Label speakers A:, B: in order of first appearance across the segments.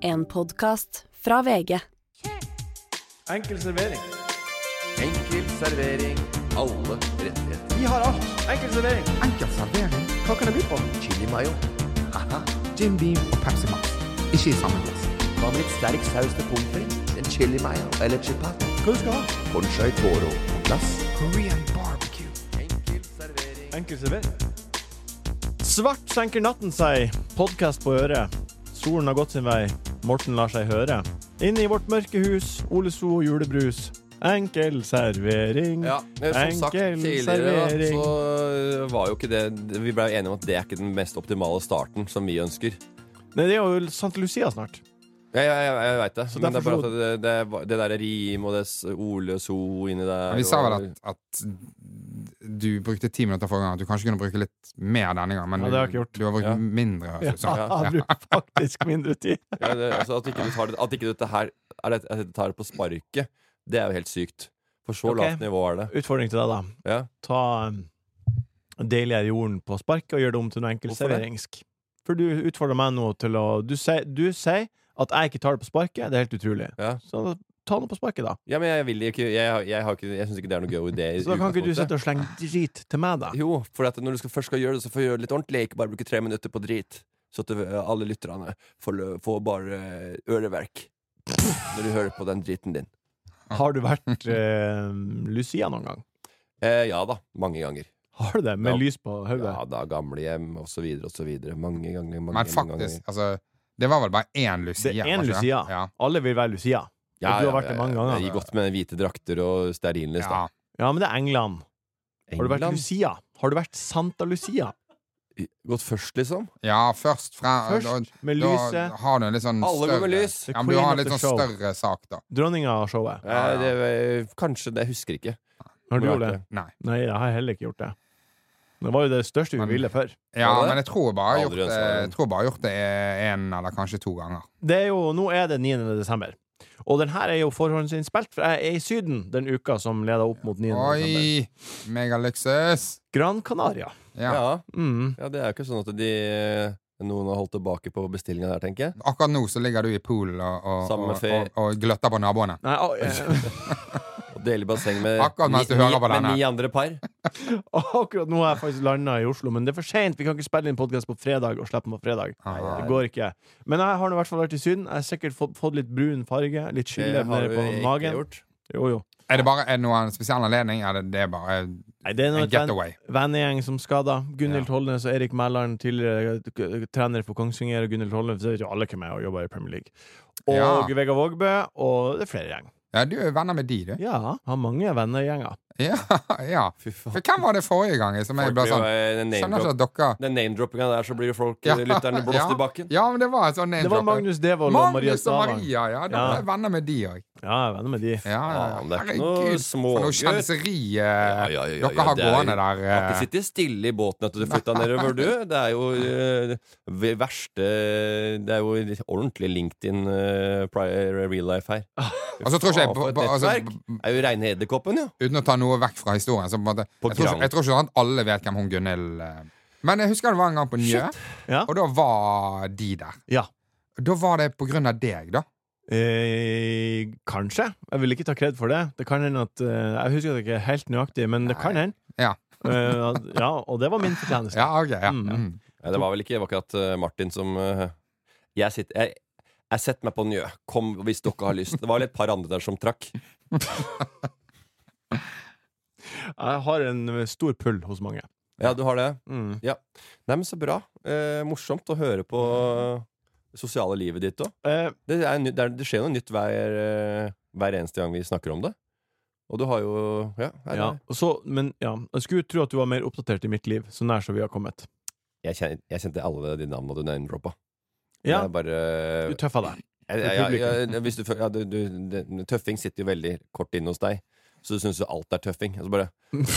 A: En podkast fra VG.
B: Enkel servering.
C: Enkel servering. Alle rettigheter.
B: Vi har alt. Enkel servering.
D: Enkel servering.
B: Hva kan jeg by på?
C: Chili mayo. Haha.
D: Jim Beam og Pepsi Max. Ikke i samme glass.
C: Hva med litt sterk saus til pommes frites? En chili mayo eller chipat?
B: Hva du skal ha?
C: Conchai toro på glass.
D: Korean barbecue.
C: Enkel servering.
B: Enkel servering. Svart senker natten seg. Podkast på øret. Solen har gått sin vei. Morten lar seg høre. Inne i vårt mørke hus. Ole So og julebrus. Enkel servering.
C: Ja, men som sagt
B: Enkel
C: tidligere da,
B: servering.
C: så øh, var jo ikke det Vi ble jo enige om at det er ikke den mest optimale starten som vi ønsker.
B: Nei, det er jo St. Lucia snart.
C: Ja, ja, ja, jeg veit det.
B: Så
C: Men det er
B: derfor
C: bare at det, det, er- det der rim og det s- Ole og So inni der
D: Vi sa vel
C: og-
D: at, at du brukte ti minutter forrige gang. At du kanskje kunne bruke litt mer denne gangen. Men
B: Ja, det har jeg ikke gjort.
D: du, du har brukt
C: Ja.
D: mindre.
B: Ja,
D: synes jeg.
B: jeg bruker faktisk mindre tid.
C: ja, det, altså, at, ikke du tar, det- at ikke dette her er det, at dette tar det på sparket, det er jo helt sykt. For så
B: Ok.
C: lavt nivå er det.
B: Utfordring til deg, da.
C: Ja.
B: ta um, deiligere jorden på sparket og gjør det om til noe
C: Hvorfor det?
B: enkeltserveringsk. For du utfordrer meg nå til å Du sier du sier at jeg ikke tar det på sparket. Det er helt utrolig.
C: Ja.
B: Så da- ta det på sparket, da.
C: Ja, men jeg vil ikke Jeg, jeg, har ikke, jeg syns ikke det er noe gøy idé. i
B: Så da kan ikke du
C: utgangspunktet.
B: sitte og slenge drit til meg, da.
C: Jo, for at når du skal, først skal gjøre det, så får du gjøre det litt ordentlig. Ikke bare bruke tre minutter på drit. Så at øh, alle lytterne får, lø- får bare øh, øreverk når de hører på den driten din.
B: Har du vært eh, Lucia noen gang?
C: Eh, ja da. Mange ganger.
B: Har du det? Med
C: Ja.
B: lys på hodet?
C: Ja da, gamlehjem og så videre og så videre. Mange ganger. Mange,
D: Men
C: mange ganger.
D: faktisk, altså Det var vel bare én Lucia?
B: Det er én
D: var ikke det?
B: Lucia.
D: Ja.
B: Alle vil være Lucia.
C: Ja,
B: Og du har
C: ja,
B: vært det mange ganger.
C: Jeg, jeg, godt med hvite drakter og stearinlys.
D: Ja.
C: da.
B: Ja, men det er England. Har du vært
C: England?
B: Lucia? Har du vært Santa Lucia?
C: Gått først, liksom?
D: ja, først fra da,
B: Først med
D: da
B: lyset.
D: har du en litt sånn
C: Alle går med
D: større-
C: lys.
D: Ja, men du
B: Queen
D: har
B: of
D: en litt
B: the
D: sånn
B: show.
D: større sak, da.
B: Dronninga av showet.
C: Eh,
D: ja.
C: det, eh, kanskje det. Jeg husker ikke.
B: Har du
C: Men
B: gjort
C: vært
B: det?
D: Nei.
B: Nei, jeg har heller ikke gjort det. Det var jo det største vi
D: Men-
B: ville før.
D: Ja,
C: Var det?
D: men jeg tror bare jeg har
C: Aldri
D: gjort, det-
C: ønsket det.
D: jeg tror bare jeg har gjort det én eller kanskje to ganger.
B: Det er jo, nå er det 9. desember. Og den her er jo forhåndsinnspilt, for jeg er i Syden den uka som leder opp mot 9. desember.
D: Oi! Megaluksus!
B: Gran Canaria.
D: Ja.
C: Ja. Ja.
B: Mm.
C: det er jo ikke sånn at de noen har holdt tilbake på bestillinga der, tenker jeg.
D: Akkurat nå så ligger du i poolen og, og,
C: Sammen med
D: og,
C: fe-
D: og, og gløtter på naboene.
B: Nei, å, eh,
C: Og deler basseng med,
D: Akkurat mens du hører på
C: med
D: denne.
C: ni andre par.
B: akkurat nå har jeg faktisk landa i Oslo, men det er for seint. Vi kan ikke spille inn podkast på fredag og slippe den på fredag.
D: Ah.
B: Det går ikke. Men jeg har nå i hvert fall vært i Syden. Jeg har sikkert fått, fått litt brun farge, litt skille nede på magen.
C: gjort.
B: Jo, jo.
D: Er det bare er det noen spesiell anledning? Er det, det er bare
B: Nei, det er nå
D: en
B: et ven-
D: getaway?
B: vennegjeng som skada. Gunhild
D: Ja.
B: Tollnes og Erik Mæland, tidligere k- trener for Kongsvinger. Og Gunhild Tollnes vet jo alle hvem er og jobber i Premier League. Og
D: Ja.
B: Vegard Vågbø, og det er flere gjeng.
D: Ja, du er venner med de, du.
B: Ja, har mange vennegjenger.
D: Ja, ja.
C: Fy faen.
D: For hvem var det forrige gang som jeg
C: Folk
D: ble
C: blir jo,
D: sånn
C: eh, Den
D: Skjønner ikke
C: name-drop-
D: at dere
C: den name-droppinga der, så blir jo folk,
D: Ja.
C: eh, lytterne, blåst
D: Ja.
C: i bakken.
D: Ja, men det var et sånn name
B: Det var
D: drop.
B: Magnus Devold og Maria
D: Magnus og
B: Stavang. Ja,
D: Maria, ja. Da
B: Ja.
D: er jeg venner med de òg.
B: jeg er venner med de.
D: Ja, ja, ja.
C: Faen, det er ikke noe
D: for noe
C: smågutt.
D: kjenseri eh,
C: Ja, ja, ja, ja,
D: dere har
C: det er-
D: gående der.
C: Du har ikke
D: eh.
C: sittet stille i båten etter du flytta nedover, du. Det er jo eh, det verste Det er jo ordentlig LinkedIn eh, pri- real life her.
D: Altså, tror ikke jeg
C: Faen,
D: på-
C: for et
D: på- altså,
C: nettverk. Det er jo reine edderkoppen, jo.
D: Uten å ta noe vekk fra historien. Så på en måte,
C: På
D: jeg, tror
C: krang.
D: ikke, jeg tror ikke sånn at alle vet hvem hun Gunhild eh, Men jeg husker det var en gang på Njø,
B: Ja.
D: og da var de der.
B: Ja.
D: Da var det på grunn av deg, da.
B: Eh, kanskje. Jeg vil ikke ta kred for det. Det kan hende at eh, Jeg husker det ikke er helt nøyaktig, men det kan hende.
D: Ja.
B: Eh, at- ja, og det var min fortjeneste.
D: Ja, ok, ja.
B: Mm.
D: Mm.
C: Nei, det var vel ikke det var akkurat eh, Martin som eh, Jeg sitter jeg, jeg setter meg på Njø. Kom hvis dere har lyst. Det var vel et par andre der som trakk.
B: Jeg har en eh, stor pull hos mange.
C: Ja, du har det?
B: Mm.
C: Nei, men så bra. Eh, morsomt å høre på eh, det sosiale livet ditt òg.
B: Eh,
C: Det, er ny- det, er- det skjer noe nytt hver, eh, hver eneste gang vi snakker om det. Og du har jo Ja. nei,
B: Ja,
C: nei.
B: og så, men ja, jeg skulle tro at du var mer oppdatert i mitt liv, så nær som vi har kommet.
C: Jeg, kjen, jeg kjente alle de navnene du name-droppa.
B: Ja,
C: Det er bare
B: du tøffa deg.
C: jeg, jeg, jeg, jeg, hvis du, føl- ja, du, du, det- Tøffing sitter jo veldig kort inne hos deg, så du syns jo alt er tøffing. Altså bare,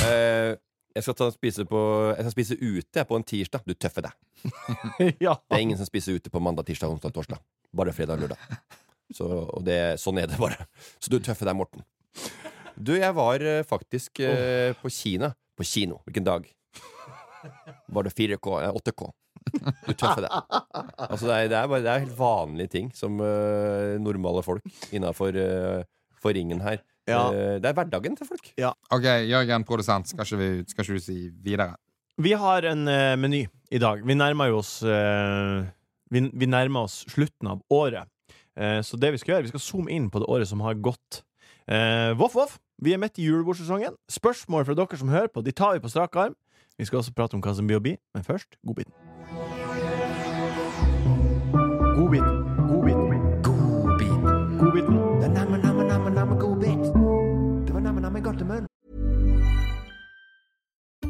C: eh, jeg, skal ta, spise på, jeg skal spise ute jeg, på en tirsdag. Du tøffer deg.
B: ja.
C: Det er ingen som spiser ute på mandag, tirsdag, onsdag, torsdag. Bare fredag og lørdag. Så, og det, sånn er det bare. Så du tøffer deg, Morten. Du, jeg var eh, faktisk eh, på Kina. På kino. Hvilken dag? Var det 4K? eh, 8K. Du tøffer deg. Altså, det, er, det, er bare, det er helt vanlige ting som øh, normale folk innafor for ringen her.
B: Ja.
C: Eh, det er hverdagen til folk.
D: OK, Jørgen, produsent, skal ikke, vi, skal ikke du si videre?
B: Vi har en eh, meny i dag. Vi nærmer jo oss eh, vi, vi nærmer oss slutten av året. Eh, så det vi skal gjøre, vi skal zoome inn på det året som har gått. Eh, voff, voff! Vi er midt i julebordsesongen. Spørsmål fra dere som hører på, de tar vi på strak arm. Vi skal også prate om hva som blir å bli, men først godbiten. Godbiten. Godbiten. Godbiten.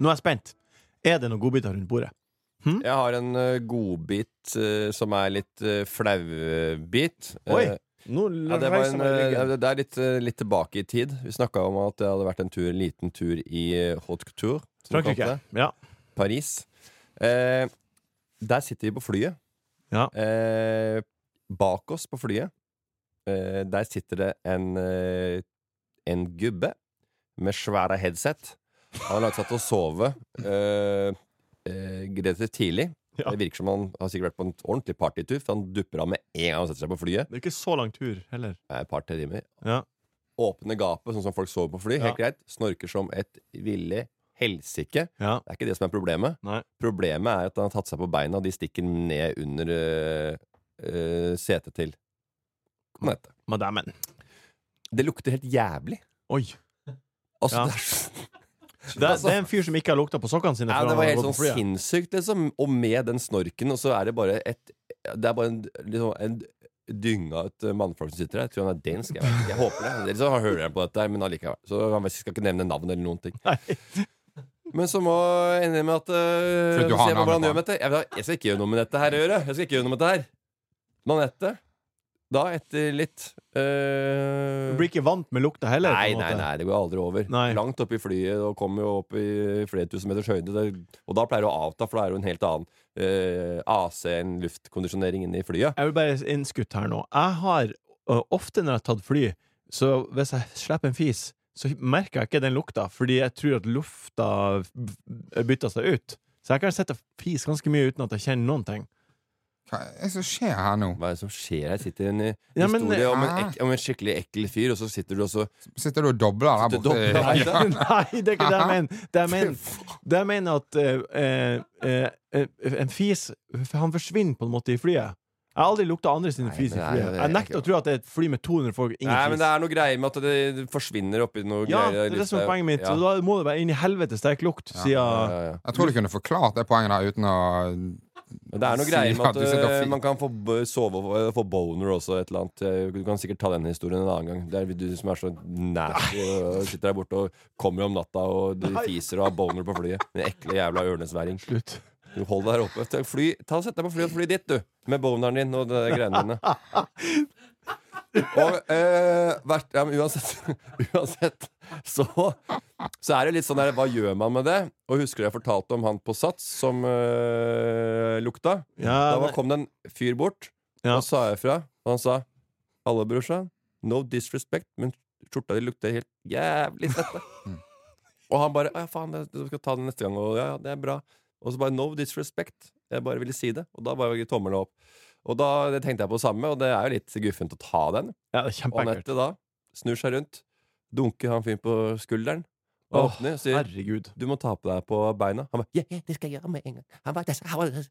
B: nå er jeg spent. Er det noen godbiter rundt bordet?
C: Jeg har en uh, godbit eh, som er litt uh, flaubit.
B: Oi!
C: Eh,
B: Nå
C: ja, det, var
B: reiser
C: en,
B: meg i ryggen.
C: eh, det er litt, eh, litt tilbake i tid. Vi snakka om at det hadde vært en tur, en liten tur i eh, haute couture. som vi kalte
B: Frankrike.
C: det.
B: Ja.
C: Paris. Eh, der sitter vi på flyet.
B: Ja.
C: Eh, bak oss på flyet, eh, der sitter det en, eh, en gubbe med svære headset. Han har lagt seg til å sove eh, eh, relativt tidlig.
B: Ja.
C: Det virker som han har sikkert vært på en ordentlig partytur, for han dupper av med en gang han setter seg på flyet.
B: Det er ikke så lang tur heller.
C: Det er Et par-tre timer.
B: Ja.
C: Åpner gapet, sånn som folk sover på fly. Helt greit. Snorker som et villig helsike.
B: Ja.
C: Det er ikke det som er problemet.
B: Nei.
C: Problemet er at han har tatt seg på beina, og de stikker ned under øh, øh, setet til Anette.
B: Madammen.
C: Det lukter helt jævlig.
B: Oi. Ja.
C: Altså, det, er, så-
B: Det, er- det er en fyr som ikke har lukta på sokkene sine.
C: ja,
B: før
C: det
B: han
C: var
B: har
C: helt
B: gått
C: sånn
B: på flyet.
C: sinnssykt, liksom. Og med den snorken, og så er det bare et Det er bare en, liksom, en dynga ut øh, mannfolk som sitter der. Jeg tror han er dansk. Jeg, vet ikke. jeg håper det. Dere så hører jeg på dette, her, men allikevel. Så han skal ikke nevne navn eller noen ting.
B: Nei.
C: Men så må jeg ende med at øh,
D: Fordi du har
C: Se hva
D: navnet
C: hvordan
D: på
C: gjør med dette. Jeg, jeg skal ikke gjøre noe med dette her å gjøre. Jeg skal ikke gjøre noe med dette her. Men Anette, da etter litt øh,
B: Du blir ikke vant med lukta heller.
C: Nei,
B: på en
C: nei,
B: måte.
C: nei, det går aldri over.
B: Nei.
C: Langt opp i flyet og kommer jo opp i flere tusen meters høyde. Det, og da pleier det å avta, for da er det jo en helt annen øh, AC enn luftkondisjonering inne i flyet.
B: Jeg vil bare innskutt her nå. Jeg har ø, ofte når jeg har tatt fly, så hvis jeg slipper en fis, så merker jeg ikke den lukta, fordi jeg tror at lufta f- bytter seg ut. Så jeg kan sitte og fise ganske mye uten at jeg kjenner noen ting.
D: Hva er det som skjer her nå?
C: Hva er det som skjer her? Sitter en eh,
B: Ja, men- eh,
C: historie om, en
D: Ah.
C: ek, om en skikkelig ekkel fyr, og så sitter du og så
D: Sitter du og dobler der
C: Sitter og
D: borte?
C: dobler?
D: Ja.
B: Nei, det er ikke det jeg mener. Det jeg mener, det jeg mener at eh, eh, eh, en fis Han forsvinner på en måte i flyet. Jeg har aldri lukta andre sine
C: Nei,
B: fis i
C: men det er-
B: flyet. Jeg nekter å tro at det er et fly med 200 folk, ingen
C: Nei,
B: fis.
C: men det er noe greier med at det, det forsvinner oppi noe
B: Ja, det
C: greier.
B: er det som er
C: lufta.
B: poenget mitt.
C: Ja.
B: Så da må det være inn i helvete sterk lukt, siden
C: Ja, ja, ja.
D: Jeg tror du kunne forklart det poenget der uten å
C: Men det er noe
D: Si
C: greier
D: at
C: med at
D: du sitter og
C: øh,
D: fi-
C: man kan få b- sove og eh, få- få boner også, et eller annet. Eh, Du kan sikkert ta den historien en annen gang. Det er du som er så nasty og sitter der borte og kommer om natta og du fiser og har boner på flyet. Den ekle jævla ørnesværing.
B: Slutt.
C: Du Hold deg der oppe. Ta- Fly, ta og Sett deg på flyet og fly dit, du. Med boneren din og de greiene dine. Og eh, hvert, ja, men uansett, uansett så, så er det litt sånn der Hva gjør man med det? Og husker du jeg fortalte om han på Sats som eh, lukta?
B: Ja,
C: Da var,
B: nei.
C: kom det en fyr bort
B: Ja.
C: og sa ifra. Og han sa 'Hallo, brorsan. No disrespect, men skjorta di lukter helt jævlig fette'. og han bare 'Å ja, faen, jeg jeg skal ta den neste gang', og ja, ja, det er bra. Og så bare 'no disrespect'. Jeg bare ville si det. Og da bare tommelen opp. Og da det tenkte jeg på det samme, og det er jo litt guffent å ta den.
B: Ja, det er
C: Og
B: kjempeekkelt.
C: Anette da snur seg rundt, dunker han fyren på skulderen, Og
B: Åh,
C: åpner og sier
B: Herregud.
C: du må ta på deg på beina. Han bare, ja, ja, det skal jeg gjøre med en gang. Han bare, det skal jeg gjøre.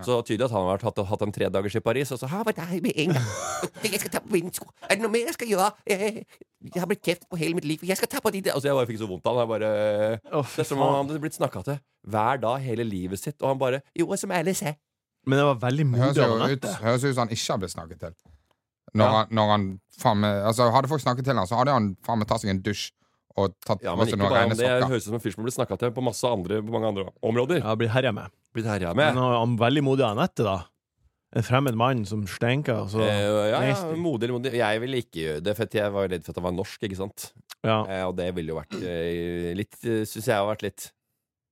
C: Så tydelig at han har vært, hatt, hatt en tredagers i Paris, og så har jeg vært der med en gang. Jeg skal ta på mine sko. Er det noe mer jeg skal gjøre? Eh, Jeg har blitt kreft på hele mitt liv. Jeg skal ta på de der. Altså, jeg bare fikk så vondt av han. Jeg bare... «Eh,
B: Åh, fy
C: Det er som om
B: faen.
C: han hadde blitt snakka til hver dag hele livet sitt, og han bare Jo, som alle ser.
B: Men det var veldig
D: Det
B: modig
D: høres
B: av
D: jo ut,
B: Anette.
D: høres ut som han ikke har blitt snakket til. Når, han, når han faen meg Altså Hadde folk snakket til han, så hadde han faen meg tatt seg en dusj og tatt
C: Ja,
D: på
C: men
D: seg
C: ikke
D: noen
C: bare
D: rene
C: om det. Det
D: sokker.
C: høres ut som en fyr som har blitt snakka til på, masse andre, på mange andre områder.
B: Jeg har blitt herja med.
C: Blitt herja
B: Men
C: med.
B: han var veldig modig av Anette, da. En fremmed mann som stenker, og så
C: Eh, ja, ja,
B: Nasty.
C: modig eller modig. Jeg ville ikke gjøre det, for at jeg var redd for at han var norsk. ikke sant?
B: Ja.
C: Eh, og det ville jo vært eh, litt Syns jeg har vært litt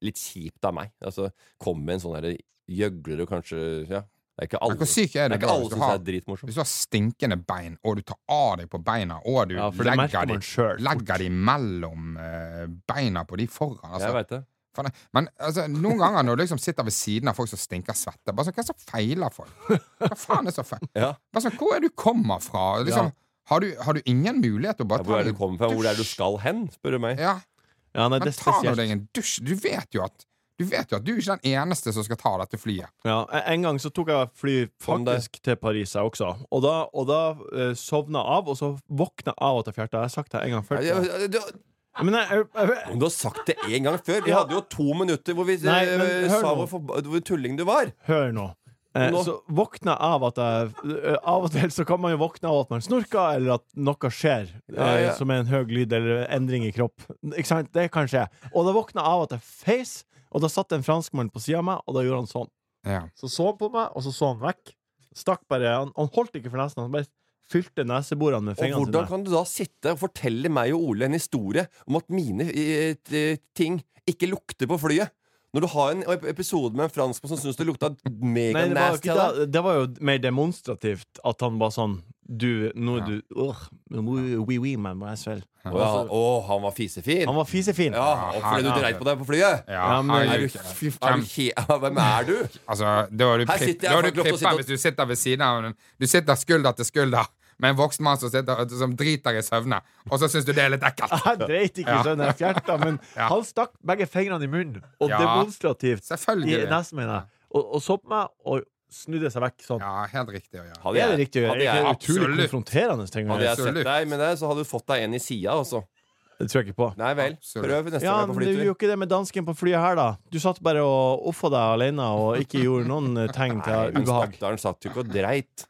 C: Litt kjipt av meg. Altså, Komme med en sånn derre gjøgler og kanskje Ja. Det er ikke alle,
D: hvor syk er
C: det
D: du
C: er ikke
D: da,
C: alle
D: hvis du
C: som
D: har-
C: er dritmorsom.
D: Hvis du har stinkende bein, og du tar av deg på beina, og du
B: ja, for det merker
D: legger de,
B: man sjøl.
D: legger de mellom eh, beina på de foran altså,
C: Jeg veit det.
D: Faen, jeg- Men altså, noen ganger når du liksom sitter ved siden av folk som stinker svette bare sånn, Hva er det som feiler folk? Hva faen er det som feil?
C: Ja.
D: Bare sånn, Hvor er det du kommer fra? Liksom,
B: Ja.
D: har, du, har du ingen mulighet til å bare
C: Hvor er det
D: deg
C: du kommer fra? Hvor er det du
D: dusj?
C: skal hen? spør du meg.
D: Ja,
B: Ja, nei, det
D: men
B: er
D: ta nå
B: spesielt.
D: deg en dusj. Du vet jo at du vet jo at du er ikke den eneste som skal ta dette flyet.
B: Ja, en- en gang så tok jeg fly
C: Kom deg.
B: faktisk til Paris, jeg også. Og da, og da eh, sovna jeg av, og så våkna jeg av at jeg fjerta. Jeg har sagt det en gang før.
C: Ja,
B: tror jeg.
C: ja, du-
B: Men jeg, jeg, jeg,
C: Men du har sagt det én gang før. Vi
B: Ja.
C: hadde jo to minutter hvor vi eh,
B: Nei, men hør
C: sa
B: nå.
C: hvor, forba- hvor tulling du var.
B: Hør nå. Eh,
C: Nå.
B: Så våkna jeg av at jeg eh, Av og til så kan man jo våkne av at man snorker, eller at noe skjer
C: Ja, ja.
B: Eh, som er en høy lyd eller endring i kropp. Ikke sant? Det kan skje. Og da våkna jeg av at jeg feis, og da satt en franskmann på sida av meg, og da gjorde han sånn.
D: Ja.
B: Så så han på meg, og så så han vekk. Stakk bare Han, han holdt ikke for nesen, han bare fylte neseborene med
C: Og
B: fingrene
C: hvordan
B: sine.
C: kan du da sitte og fortelle meg og Ole en historie om at mine eh, t- ting ikke lukter på flyet? Når du har en ep- episode med en franskmann som syns det lukta
B: Nei, det, var jo
C: meganasty
B: ikke,
C: av deg.
B: det, det var jo mer demonstrativt at han bare sånn Du, nå er du Åh, oui, oui, man, må jeg svelge.
C: Å, ja. Å, han var
B: altså-
C: fisefin.
B: Han var fisefin.
C: Ja, og fordi du
D: Ja.
C: dreit på deg på flyet.
D: Ja,
B: Ja, men-
C: Er du,
D: herregud.
C: fy- er du he Hvem er du?
D: Altså, da har du, pripp,
C: Her sitter jeg,
D: da har
C: jeg
D: du
C: får ikke lov til å
D: prippa
C: sitte og-
D: hvis du sitter ved siden av en Du sitter skulder til skulder med en voksen mann som, sitter, som driter i søvne, og så syns du det er litt ekkelt.
B: Jeg dreit ikke i
D: Ja.
B: sønnen jeg fjerta, men
D: Ja.
B: han stakk begge fingrene i munnen, og
D: Ja.
B: demonstrativt i
D: Selvfølgelig.
B: nesen min, jeg. og, og så på meg og snudde seg vekk sånn.
D: Ja, helt riktig å gjøre.
C: Hadde
B: Det er det
C: jeg,
B: riktig å gjøre.
C: hadde
B: Det er
C: jeg,
B: utrolig
D: absolutt.
B: konfronterende ting å gjøre.
C: hadde jeg sett
D: Absolutt.
C: deg med det, så hadde du fått deg en i sida også.
B: Det tror jeg ikke på.
C: Nei vel.
D: Absolutt.
C: Prøv neste
B: Ja,
C: gang
B: men
C: på
B: Du gjorde
C: flytur.
B: jo ikke det med dansken på flyet her, da. Du satt bare og offa deg alene og ikke gjorde noen eh, tegn til
C: Han
B: ubehag.
C: Stakkaren satt jo ikke og dreit.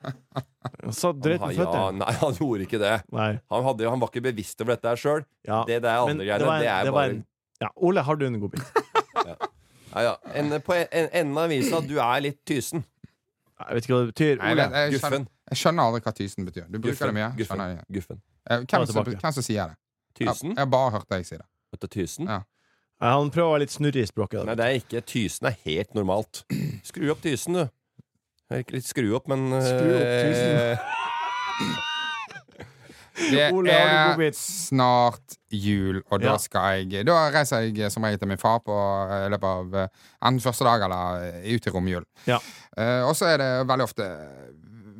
B: Så dreit
C: Han
B: med
C: har- Ja,
B: føttene.
C: nei, han gjorde ikke det.
B: Nei.
C: Han, hadde, han var ikke bevisst over dette her sjøl.
B: Ja.
C: Det der andre greiene,
B: var en-
C: det er
B: var
C: bare-
B: en- ja, Ole, har du en godbit?
C: Ja, ja. En, eh, på en- en- enden av visa at du er litt tysen.
B: Jeg vet ikke hva det betyr.
D: Nei, jeg,
B: Ole,
D: vet- jeg,
C: Guffen.
D: skjønner, jeg skjønner aldri hva tysen betyr. Du bruker det mye.
C: Guffen.
D: Skjønner jeg.
C: Guffen.
D: Eh, Hvem, som,
B: tilbake.
D: hvem som sier det?
C: Tysen?
D: Jeg, jeg har bare hørt deg si det.
C: Vet du, tysen?
D: Ja.
B: Nei, han prøver å være litt snurrig i språket.
C: Nei,
B: Da.
C: det er ikke Tysen er helt normalt. Skru opp tysen, du. Det er Ikke litt skru opp, men
B: Skru opp tysen.
C: eh,
B: Ole,
D: Det
B: har du en
D: er
B: godbit?
D: snart jul, og da
B: Ja.
D: skal jeg Da reiser jeg som regel til min far på eh, i løpet av eh, enten første dag eller eh, ut i romjul.
B: Ja.
D: Eh, og så er det veldig ofte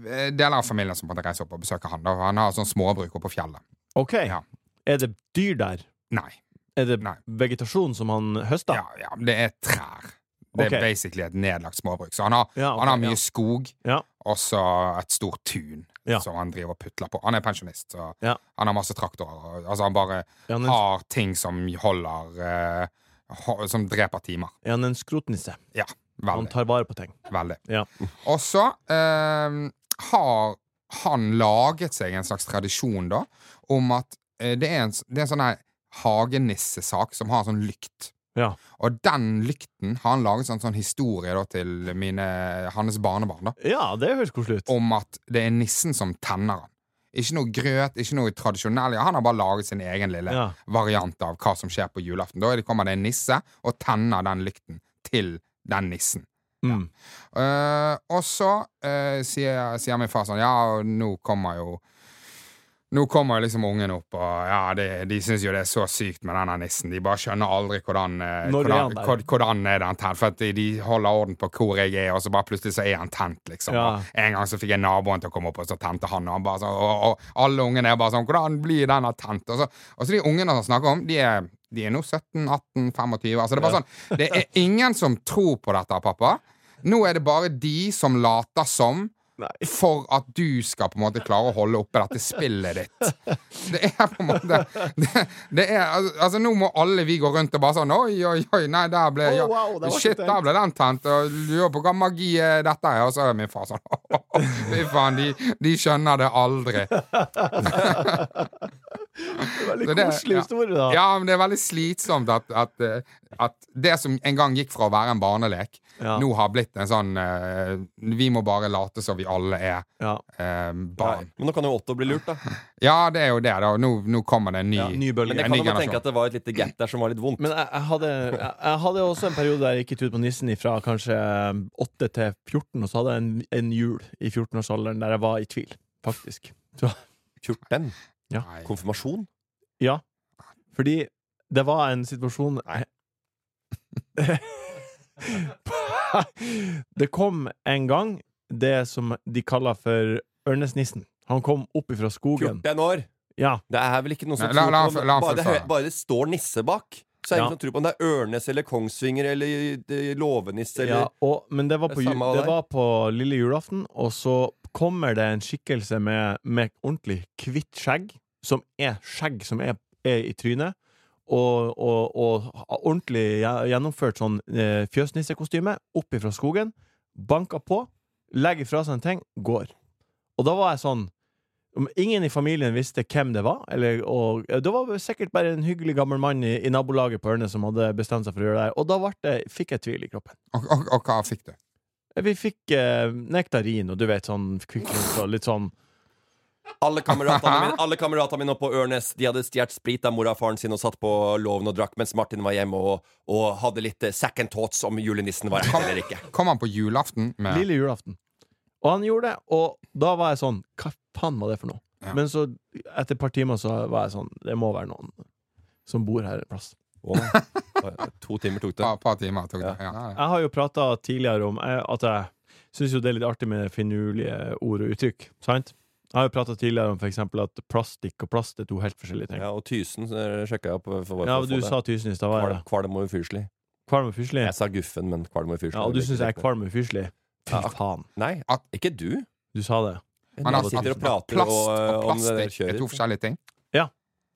D: eh, deler av familien som måtte reise opp og besøke han. Da. Han har sånn småbruk oppe på fjellet.
B: OK.
D: Ja.
B: Er det dyr der?
D: Nei.
B: Er det
D: Nei.
B: vegetasjon som han høster?
D: Ja, ja, det er trær. Det er
B: Ok.
D: basically et nedlagt småbruk. Så han har,
B: Ja, ok,
D: han har mye
B: ja.
D: skog,
B: Ja.
D: og så et stort tun
B: Ja.
D: som han driver og putler på. Han er pensjonist, så
B: Ja.
D: han har masse traktorer. og- Altså, han bare
B: Er han en,
D: har ting som holder eh, ho- Som dreper timer.
B: er han en skrotnisse?
D: Ja.
B: Han
D: Veldig.
B: tar vare på ting.
D: veldig.
B: Ja.
D: Og så eh, har han laget seg en slags tradisjon, da, om at eh, det, er en, s- det er en sånn her hagenissesak som har sånn lykt.
B: Ja.
D: Og den lykten har han laget sånn, sånn historie da, til mine, hans barnebarn, da,
B: Ja, det høres koselig ut.
D: om at det er nissen som tenner han. Ikke noe grøt, ikke noe tradisjonell. Ja, han har bare laget sin egen lille
B: Ja.
D: variant av hva som skjer på julaften. Da er det- kommer det en nisse og tenner den lykten til den nissen.
B: Mm.
D: Eh, og så eh, sier, sier min far sånn Ja, nå kommer jo Nå kommer jo liksom ungen opp, og ja, det, de syns jo det er så sykt med denne nissen. De bare skjønner aldri hvordan
B: Når er han
D: eh, hvordan,
B: der?
D: hvor- hvordan er den tent. For at de, de holder orden på hvor jeg er, og så bare plutselig så er han tent, liksom.
B: Ja.
D: Og En gang så fikk jeg naboen til å komme opp, og så tente han, og han bare sånn Og, og alle ungene er bare sånn Hvordan blir denne tent? Og så, og så de ungene han snakker om, de er de er nå 17, 18, 25 Altså det er bare sånn Det er ingen som tror på dette, pappa. Nå er det bare de som later som.
B: Nei.
D: For at du skal på en måte klare å holde oppe dette spillet ditt. Det er på en måte det, det er, al- Altså, nå må alle vi gå rundt og bare sånn Oi, oi, oi, nei, der ble
B: Oh,
D: ja,
B: wow, det var ikke
D: Shit,
B: tenkt.
D: der ble den tent. Og lurer på hva magi er dette er. Og så er min far sånn Fy faen, de, de skjønner det aldri.
B: Veldig
D: Så det-
B: koselig
D: ja.
B: historie, da.
D: Ja, men det er veldig slitsomt at, at, eh, at det som en gang gikk fra å være en barnelek,
B: Ja.
D: nå har blitt en sånn eh, Vi må bare late som vi alle er
B: Ja.
D: eh, barn.
C: Men nå kan jo Otto bli lurt, da.
D: Ja, det er jo det. da Nå, nå kommer det en ny,
B: Ja, ny bølge.
D: en
C: Men jeg
D: ny
C: kan jo
D: generasjon.
C: tenke at det var et lite gap der som var litt vondt.
B: Men jeg, jeg, hadde, jeg, jeg hadde også en periode der jeg gikk ut på nissen fra kanskje 8 til 14, og så hadde jeg en, en jul i 14-årsalderen der jeg var i tvil, faktisk. Så,
C: 14?
D: Nei.
C: Konfirmasjon?
B: ja. Fordi det var en situasjon Det kom en gang det som de kaller for Ørnesnissen. Han kom opp ifra skogen.
C: 14 år!
B: Ja.
C: Det er vel ikke noen som
D: Nei, la-
C: tror
D: la-
C: på
D: la- la-
C: bare, det,
D: forklare.
C: bare det står nisse bak, så er det
B: Ja.
C: ingen som tror på om det er Ørnes eller Kongsvinger eller eh, Låvenisse eller
B: Ja, og, men det var, på,
C: Det
B: ju-
C: er samme av
B: det
C: deg.
B: var på lille julaften, og så kommer det en skikkelse med, med ordentlig hvitt skjegg, som er skjegg som er, er i trynet, og, og, og har ordentlig gje- gjennomført sånn eh, fjøsnissekostyme opp ifra skogen, banker på, legger fra seg en ting, går. Og da var jeg sånn om Ingen i familien visste hvem det var. Eller, og, det var sikkert bare en hyggelig gammel mann i, i nabolaget på Ørne som hadde bestemt seg for å gjøre det her. Og da ble det, fikk jeg tvil i kroppen.
D: Og, og, og hva fikk du?
B: Vi fikk eh, nektarin og du vet sånn Kvikk Lunsj og litt sånn
C: Alle kameratene mine, alle kameratene mine oppe på Ørnes De hadde stjålet sprit av mora og faren sin og satt på låven og drakk mens Martin var hjemme og, og hadde litt eh, second thoughts om julenissen var ekte eller ikke.
D: Kom han på julaften med
B: lille julaften. Og han gjorde det, og da var jeg sånn Hva faen var det for noe?
D: Ja.
B: Men så, etter et par timer, så var jeg sånn Det må være noen som bor her en plass.
C: Å, To timer tok
D: et
C: det.
D: par, par timer? Tok det. Ja, ja.
B: Jeg har jo prata tidligere om eh, at jeg syns jo det er litt artig med finurlige ord og uttrykk, sant? Jeg har jo prata tidligere om for eksempel at plastikk og plast er to helt forskjellige ting.
C: Ja, og Tysen sjekka jeg opp. eh, For, for,
B: Ja,
C: for å
B: du
C: få det.
B: sa tusen i stad, var jeg det?
C: Kval- Kvalm og ufyselig.
B: Kvalm og fyselig?
C: Jeg sa Guffen, men Kvalm og ufyselig.
B: Ja, og du syns jeg er kvalm og fyselig? Fy
C: Ja.
B: faen.
C: Nei,
D: At-
C: ikke du.
B: Du sa det.
D: Men altså,
C: Jeg
D: at, at,
C: sitter og
D: at
C: prater
D: plast
C: og, eh,
D: og
C: om det der
D: plastikk er to
C: kjøret.
D: forskjellige ting?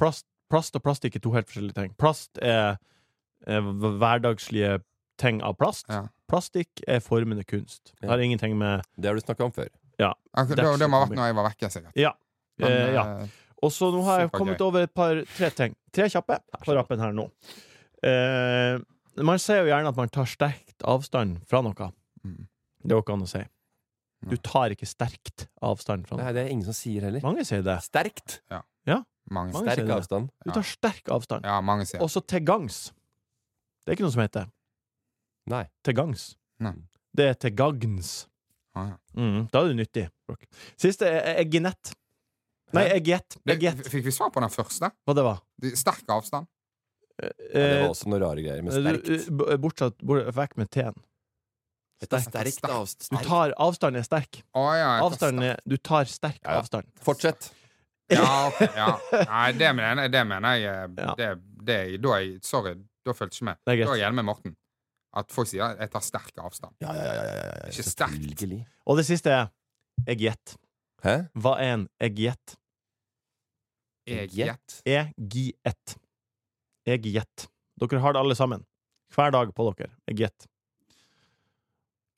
B: plast, plast og plastikk er to helt forskjellige ting. Plast er, er hv- hverdagslige ting av plast.
D: Ja.
B: Plastikk er formende kunst. Det har ingenting med
C: Det har du snakka om før.
D: Ja, Det,
B: Dash
D: det må
B: kommer.
D: ha vært når jeg var vekke, sikkert.
B: Ja.
D: Men,
B: eh, ja.
D: eh,
B: Og så nå har jeg
D: supergøy.
B: kommet over et par tre ting. Tre kjappe på rappen her nå. Eh, man sier jo gjerne at man tar sterkt avstand fra noe.
D: Mm.
B: Det går ikke an å si. Du tar ikke sterkt avstand fra noe.
C: Nei, det er ingen som sier heller.
B: Mange sier det.
C: Sterkt.
D: mange,
B: Mange sier
C: Sterk
B: det.
C: avstand.
B: Du tar sterk avstand.
D: ja, mange sier
B: Og så til gangs. Det er ikke noe som heter
C: Nei.
B: til gangs.
D: Nei.
B: Det er til gagns.
D: Ah, ja.
B: Mm, da er du nyttig. Brooke. Siste er er eginett. Nei, eggett.
D: Det-
B: Eggett,
D: Fikk vi svar på den første?
B: hva det var.
D: De- Sterk avstand.
C: Ja, det var også noen rare greier med sterkt.
B: Eh, du- eh, Bortsett bort, vekk med T-en.
C: Dette er sterkt
B: Du
C: avstand.
B: tar Avstanden er sterk.
D: Å ja. jeg tar
B: Avstanden er, du tar sterk
C: Ja, ja.
B: avstand.
D: sterk-
C: Fortsett.
D: Ja, ok, ja. Nei, det mener jeg. Det mener jeg, eh,
B: Ja.
D: det, det, da er jeg sorry, da fulgte jeg ikke med. Da
B: Det er greit.
D: er jeg enig med Morten. At folk sier 'jeg tar sterk avstand'.
C: Ja, ja, ja, ja, ja, ja.
D: Ikke sterkt.
C: Selvfølgelig.
B: Og det siste er eggett.
C: Hæ?
B: Hva er en eggett?
D: Jeg gjett.
B: E-gi-ett. Eggett. Dere har det alle sammen. Hver dag på dere. Eggett.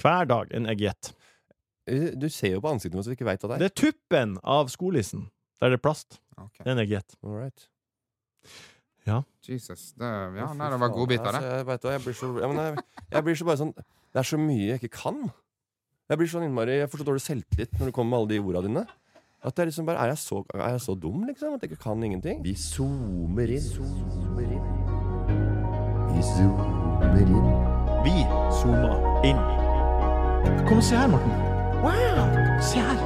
B: Hver dag en eggett.
C: Eh, Du ser jo på ansiktet mitt at du ikke veit at det er.
B: Det er tuppen av skolissen. Der det er plast.
D: Ok.
B: Det er en eggett.
C: All right.
D: Jesus. Det, ja,
C: Å, fy
D: nei, det var
C: faen.
D: godbiter, det.
C: Altså, jeg, vet, hva, jeg, blir så, ja, men jeg, jeg blir så bare sånn Det er så mye jeg ikke kan. Jeg blir sånn innmari Jeg får så dårlig selvtillit når du kommer med alle de orda dine. At jeg liksom bare, er, jeg så, er jeg så dum, liksom? At jeg ikke kan ingenting? Vi zoomer inn. Vi zoomer inn.
B: Vi zoomer inn. Kom og se her, Morten. Wow! Se her.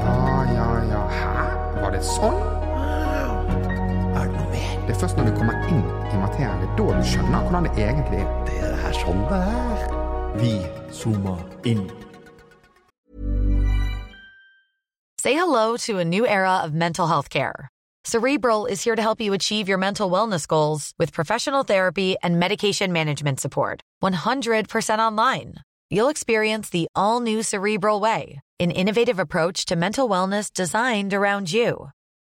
D: Ja, ja, ja. Hæ? Var det sånn?
C: Er det noe mer?
D: Det er først når du kommer inn i materien, det er da du skjønner hvordan det egentlig er.
C: Det er det her sånn det er.
B: Vi zoomer inn.
E: Say hello to a new era of mental health care. Cerebral is here to help you achieve your mental wellness goals with professional therapy and medication management support. 100% online. You'll experience the all new Cerebral Way, an innovative approach to mental wellness designed around you.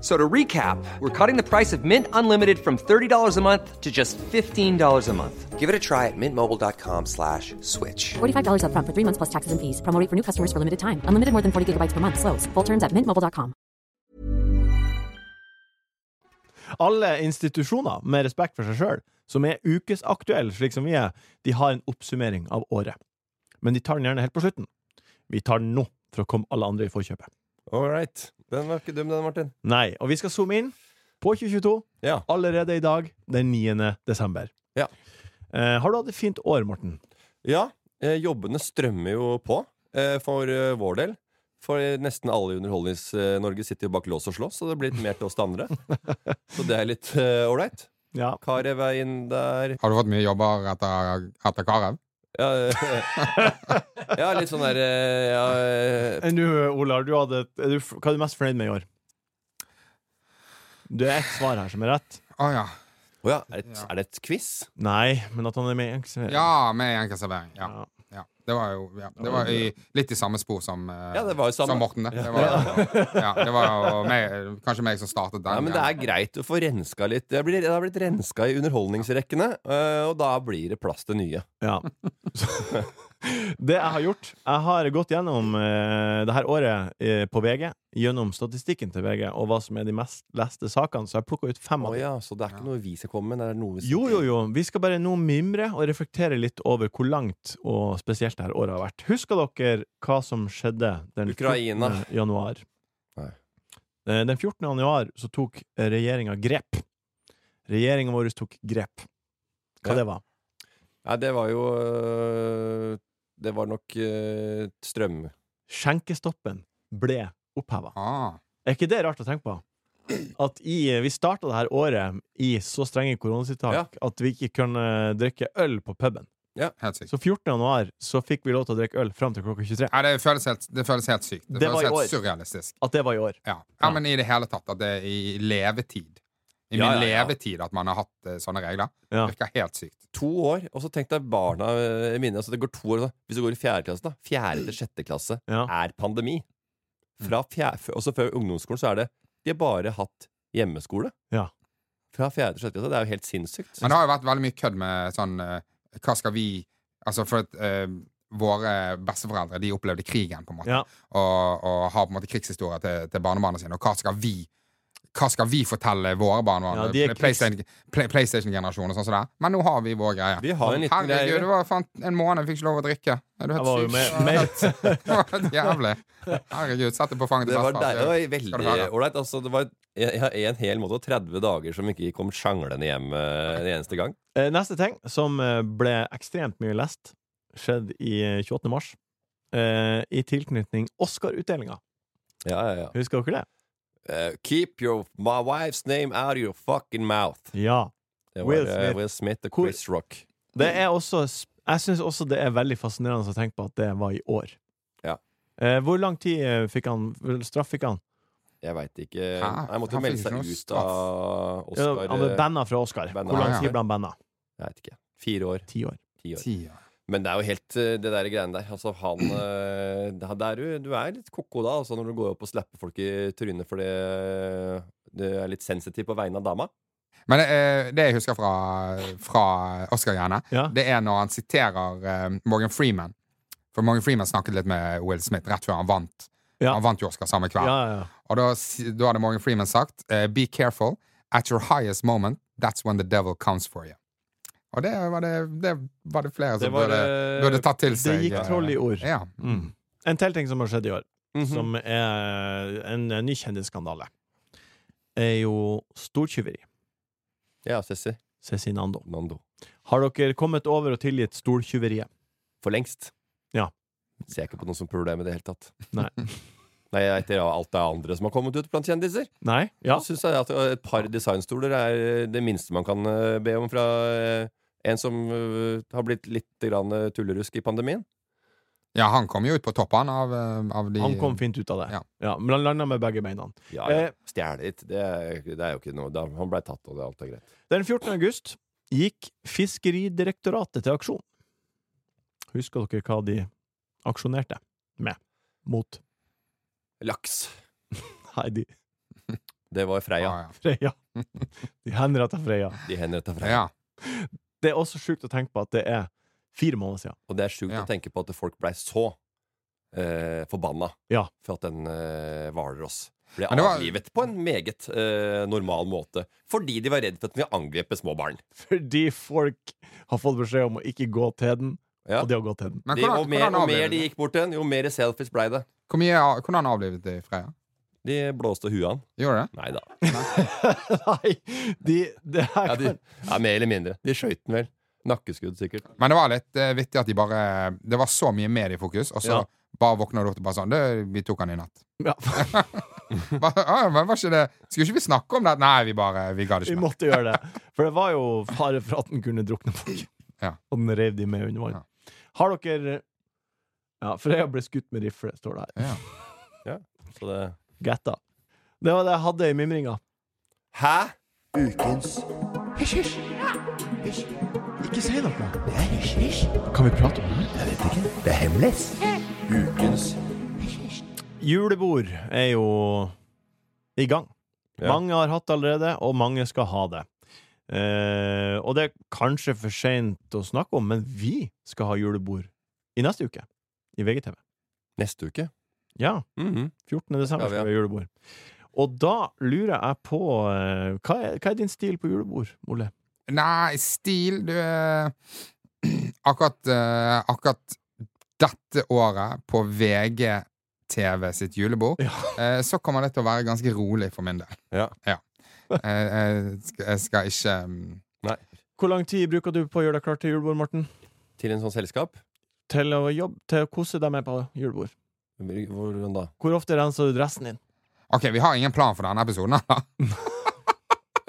F: So to recap, we're cutting the price of Mint Unlimited from $30 a month to just $15 a month. Give it a try at mintmobile.com slash switch.
G: $45 upfront for three months plus taxes and fees. Promo rate for new customers for limited time. Unlimited more than 40 gigabytes per month. Slows. Full terms at mintmobile.com.
B: Alle institusjoner, med respekt for seg sjøl, som er ukesaktuelle, slik som vi er, de har en oppsummering av året. Men de tar den gjerne helt på slutten. Vi tar den nå, for å komme alle andre i forkjøpet.
C: All right. Den var ikke dum, den, Martin.
B: Nei, og vi skal zoome inn på 2022
C: Ja.
B: allerede i dag, den 9. desember.
C: Ja.
B: Eh, har du hatt et fint år, Morten?
C: Ja, eh, jobbene strømmer jo på eh, for eh, vår del. For eh, nesten alle i Underholdnings-Norge sitter jo bak lås og slå, så det blir litt mer til oss til andre. Så det er litt ålreit.
B: Ja.
C: Karev er inn der.
D: Har du fått mye jobber etter, etter Karev?
C: Ja, eh, ja litt sånn der eh, ja, eh,
B: Enn du, Ola, har du hatt et, er du, f- hva er du mest fornøyd med i år? Det er ett svar her som er rett.
D: Å ja.
C: Å ja, er det, er det et quiz?
B: Nei, men at han er med i Enkeltservering.
D: Ja, med enkel servering.
B: Ja.
D: Ja. Ja. Det var jo ja. det var i, litt i samme spor som, eh,
C: Ja, det var jo samme.
D: som Morten. Det, det var, jo- ja, det var jo meg, kanskje meg som startet den.
C: Ja, men det er greit å få renska litt. Det, blir, det har blitt renska i underholdningsrekkene, eh, og da blir det plass til nye.
B: Ja. Så- Det jeg har gjort Jeg har gått gjennom eh, det her året eh, på VG, gjennom statistikken til VG og hva som er de mest leste sakene, så jeg plukka ut fem
C: Å
B: av dem.
C: ja, så det er ikke noe vi skal komme med? Det er noe vi
B: Jo, jo, jo. Vi skal bare nå mimre og reflektere litt over hvor langt og spesielt det her året har vært. Husker dere hva som skjedde den
C: Ukraina.
B: 14. januar?
C: Nei.
B: Eh, Den 14. januar så tok regjeringa grep. Regjeringa vår tok grep. Hva
C: Ja.
B: det var?
C: Nei, det var jo øh, Det var nok øh, strøm.
B: Skjenkestoppen ble oppheva.
D: Ah,
B: Er ikke det rart å tenke på? At i, vi starta det her året i så strenge koronatiltak
C: Ja.
B: at vi ikke kunne drikke øl på puben.
D: helt sykt.
B: Så 14. januar så fikk vi lov til å drikke øl fram til klokka 23.
D: Ja, det, føles helt, det føles helt sykt. Det,
B: Det var
D: føles
B: i
D: helt
B: år.
D: surrealistisk.
B: At det var i år.
D: Ja.
B: Ja.
D: ja, men i det hele tatt. At det er i levetid. I
C: Ja,
D: min
C: ja, ja.
D: levetid at man har hatt eh, sånne regler.
B: Ja.
D: Virker helt sykt.
C: To år, og så tenk deg barna øh, mine. Altså det går to år da. Hvis du går i fjerde klasse, da. Fjerde til sjette klasse
B: Ja. Mm.
C: er pandemi. Fra fjerde, f- også før ungdomsskolen så er det De har bare hatt hjemmeskole.
B: Ja.
C: Fra fjerde til sjette klasse. Det er jo helt sinnssykt.
D: Men det har jo vært veldig mye kødd med sånn eh, Hva skal vi Altså, for at eh, våre besteforeldre de opplevde krigen, på en måte.
B: Ja.
D: Og, og har på en måte krigshistorier til, til barnebarna sine. Og hva skal vi Hva skal vi fortelle våre barnebarn?
B: Ja, de er krigs-
D: PlayStation- Play- PlayStation-generasjonen og sånn som det. Men nå har vi vår greie.
C: Vi har en liten greie.
D: Herregud, det var faen en måned jeg fikk ikke lov å drikke. Er du
B: Jeg var jo
D: helt syk?
B: med, med.
D: Det var helt jævlig. Herregud, sett deg på fanget
C: Det
D: til
C: var, der,
D: bestefar. Skal
C: det var
D: du
C: veldig
D: høre?
C: ålreit. Altså, det var jeg har en hel måte og 30 dager som ikke kom sjanglende hjem øh, en eneste gang.
B: Eh, Neste ting, som eh, ble ekstremt mye lest, skjedde i eh, 28. mars. Eh, I tilknytning Oscar-utdelinga.
C: Ja, ja, ja.
B: Husker dere det?
C: Eh, keep your my wife's name out of your fucking mouth.
B: Ja.
C: Det var
B: Will
C: Will
B: Smith.
C: Smith, Will Smith og
B: Hvor-
C: Chris Rock.
B: Det er også Jeg syns også det er veldig fascinerende å tenke på at det var i år.
C: Ja.
B: Eh, hvor lang tid eh, fikk han hvor straff fikk han?
C: Jeg veit ikke.
D: Hæ?
C: Han måtte jo
D: Han
C: melde
D: fikk
C: seg
D: ikke noe
C: ut
D: straff.
C: av
B: Ja,
C: Oscar
B: han ble
C: eh,
B: banna fra Oscar.
C: banna.
B: Hvor lang
D: Ja, ja.
B: tid ble han banna?
C: Jeg vet ikke. Fire år.
B: Ti år.
C: Ti år.
D: Ti år.
C: Men det er jo helt eh, det der greiene der. Altså, han eh, det er- det er jo- Du er litt ko-ko da, altså, når du går opp og slapper folk i trynet fordi eh, du er litt sensitiv på vegne av dama.
D: Men eh, det jeg husker fra, fra Oscar-greiene,
B: Ja.
D: det er når han siterer eh, Morgan Freeman. For Morgan Freeman snakket litt med Will Smith rett før han vant.
B: Ja.
D: Han vant jo Oscar samme kveld.
B: Ja, ja, ja.
D: Og da, si- da hadde Morgan Freeman sagt eh, Be careful. At your highest moment, that's when the devil comes for you. Og det var det, det, var det flere
B: Det
D: som
B: var,
D: burde,
B: eh,
D: burde tatt til
B: Det
D: seg.
B: gikk
D: eh,
B: troll i ord.
D: Ja.
B: Mm. En til ting som har skjedd i år,
C: Mhm.
B: som er en, en ny kjendisskandale, er jo stortyveri.
C: Ja, Cessi.
B: Cezinando.
C: Nando.
B: Har dere kommet over og tilgitt stoltyveriet?
C: For lengst.
B: Ja.
C: Ser ikke på noe som problem i det hele tatt.
B: Nei.
C: Nei, etter alt det andre som har kommet ut blant kjendiser.
B: Nei? Ja?
C: Så synes jeg at eh, et par designstoler er det minste man kan eh, be om fra eh, en som eh, har blitt litt grann eh, tullerusk i pandemien.
D: ja, han kom jo ut på toppen av, eh, av de
B: Han kom fint ut av det.
D: Ja.
B: Ja, men han landa med begge beina.
C: Ja, ja.
B: Eh.
C: Stjele litt, det er, det er jo ikke noe. Da, han blei tatt, og det, alt er greit.
B: Den 14. august gikk Fiskeridirektoratet til aksjon. Husker dere hva de aksjonerte med? Mot
C: Laks.
B: Heidi
C: Det var Freia.
D: Ah,
B: Freia. De henretta Freia.
C: De henretta
D: ja.
C: Freia.
D: ja.
B: Det er også sjukt å tenke på at det er fire måneder siden.
C: Og det er sjukt
D: Ja.
C: å tenke på at folk blei så eh, forbanna
B: Ja.
C: for at den eh, hvalross ble
D: Men det var-
C: avlivet på en meget eh, normal måte. Fordi de var redd for at den ville angripe små barn.
B: Fordi folk har fått beskjed om å ikke gå til den,
C: Ja.
B: og de har gått til den.
D: Men
C: De,
D: hvordan,
C: og mer
D: hvordan
C: og
D: avlivet
C: mer de gikk bort til den, jo mer selfies blei det.
D: Hvor mye av- Hvordan avlivet de Freya?
C: De blåste huet av den.
D: Gjorde det?
C: Nei da.
B: Nei, de, det her
C: Ja,
B: kan
C: de, ja, mer eller mindre. De skjøt den vel. Nakkeskudd, sikkert.
D: Men det var litt eh, vittig at de bare Det var så mye mediefokus, og
B: Ja.
D: så bare våkna du opp og bare sånn «Det- Vi tok han i natt.
B: ja,
D: Bare, «Å, men var ikke det Skulle ikke vi snakke om det? Nei, vi bare Vi gadd
B: Vi
D: ikke mer.
B: måtte gjøre det. For det var jo fare for at den kunne drukne folk.
D: Ja.
B: Og den rev de med under vann.
D: Ja.
B: Har dere Ja, Freya ble skutt med rifle, står det her.
D: Ja.
C: Så det
B: Getta. Det var det jeg hadde i mimringa.
C: Hæ?
B: Julebord er jo i gang.
C: Ja.
B: Mange har hatt det allerede, og mange skal ha det. Eh, og det er kanskje for seint å snakke om, men vi skal ha julebord i neste uke. I VGTV.
C: Neste uke?
B: Ja.
C: Mhm.
B: 14. desember
C: Ja, vi er.
B: skal vi ha julebord. Og da lurer jeg på eh, hva er, hva er din stil på julebord, Ole?
D: Nei, stil Du eh, Akkurat, eh, akkurat dette året, på VGTV sitt julebord,
B: Ja.
D: eh, så kommer det til å være ganske rolig for min del.
C: Ja.
D: Eh, jeg, skal, jeg skal ikke mm,
C: Nei.
B: Hvor lang tid bruker du på å gjøre deg klar til julebord, Morten?
C: Til en sånn selskap?
B: Til å jobbe, til å kose deg med på julebord.
C: Hvordan da?
B: Hvor ofte renser du dressen din?
D: Ok, vi har ingen plan for denne episoden. da.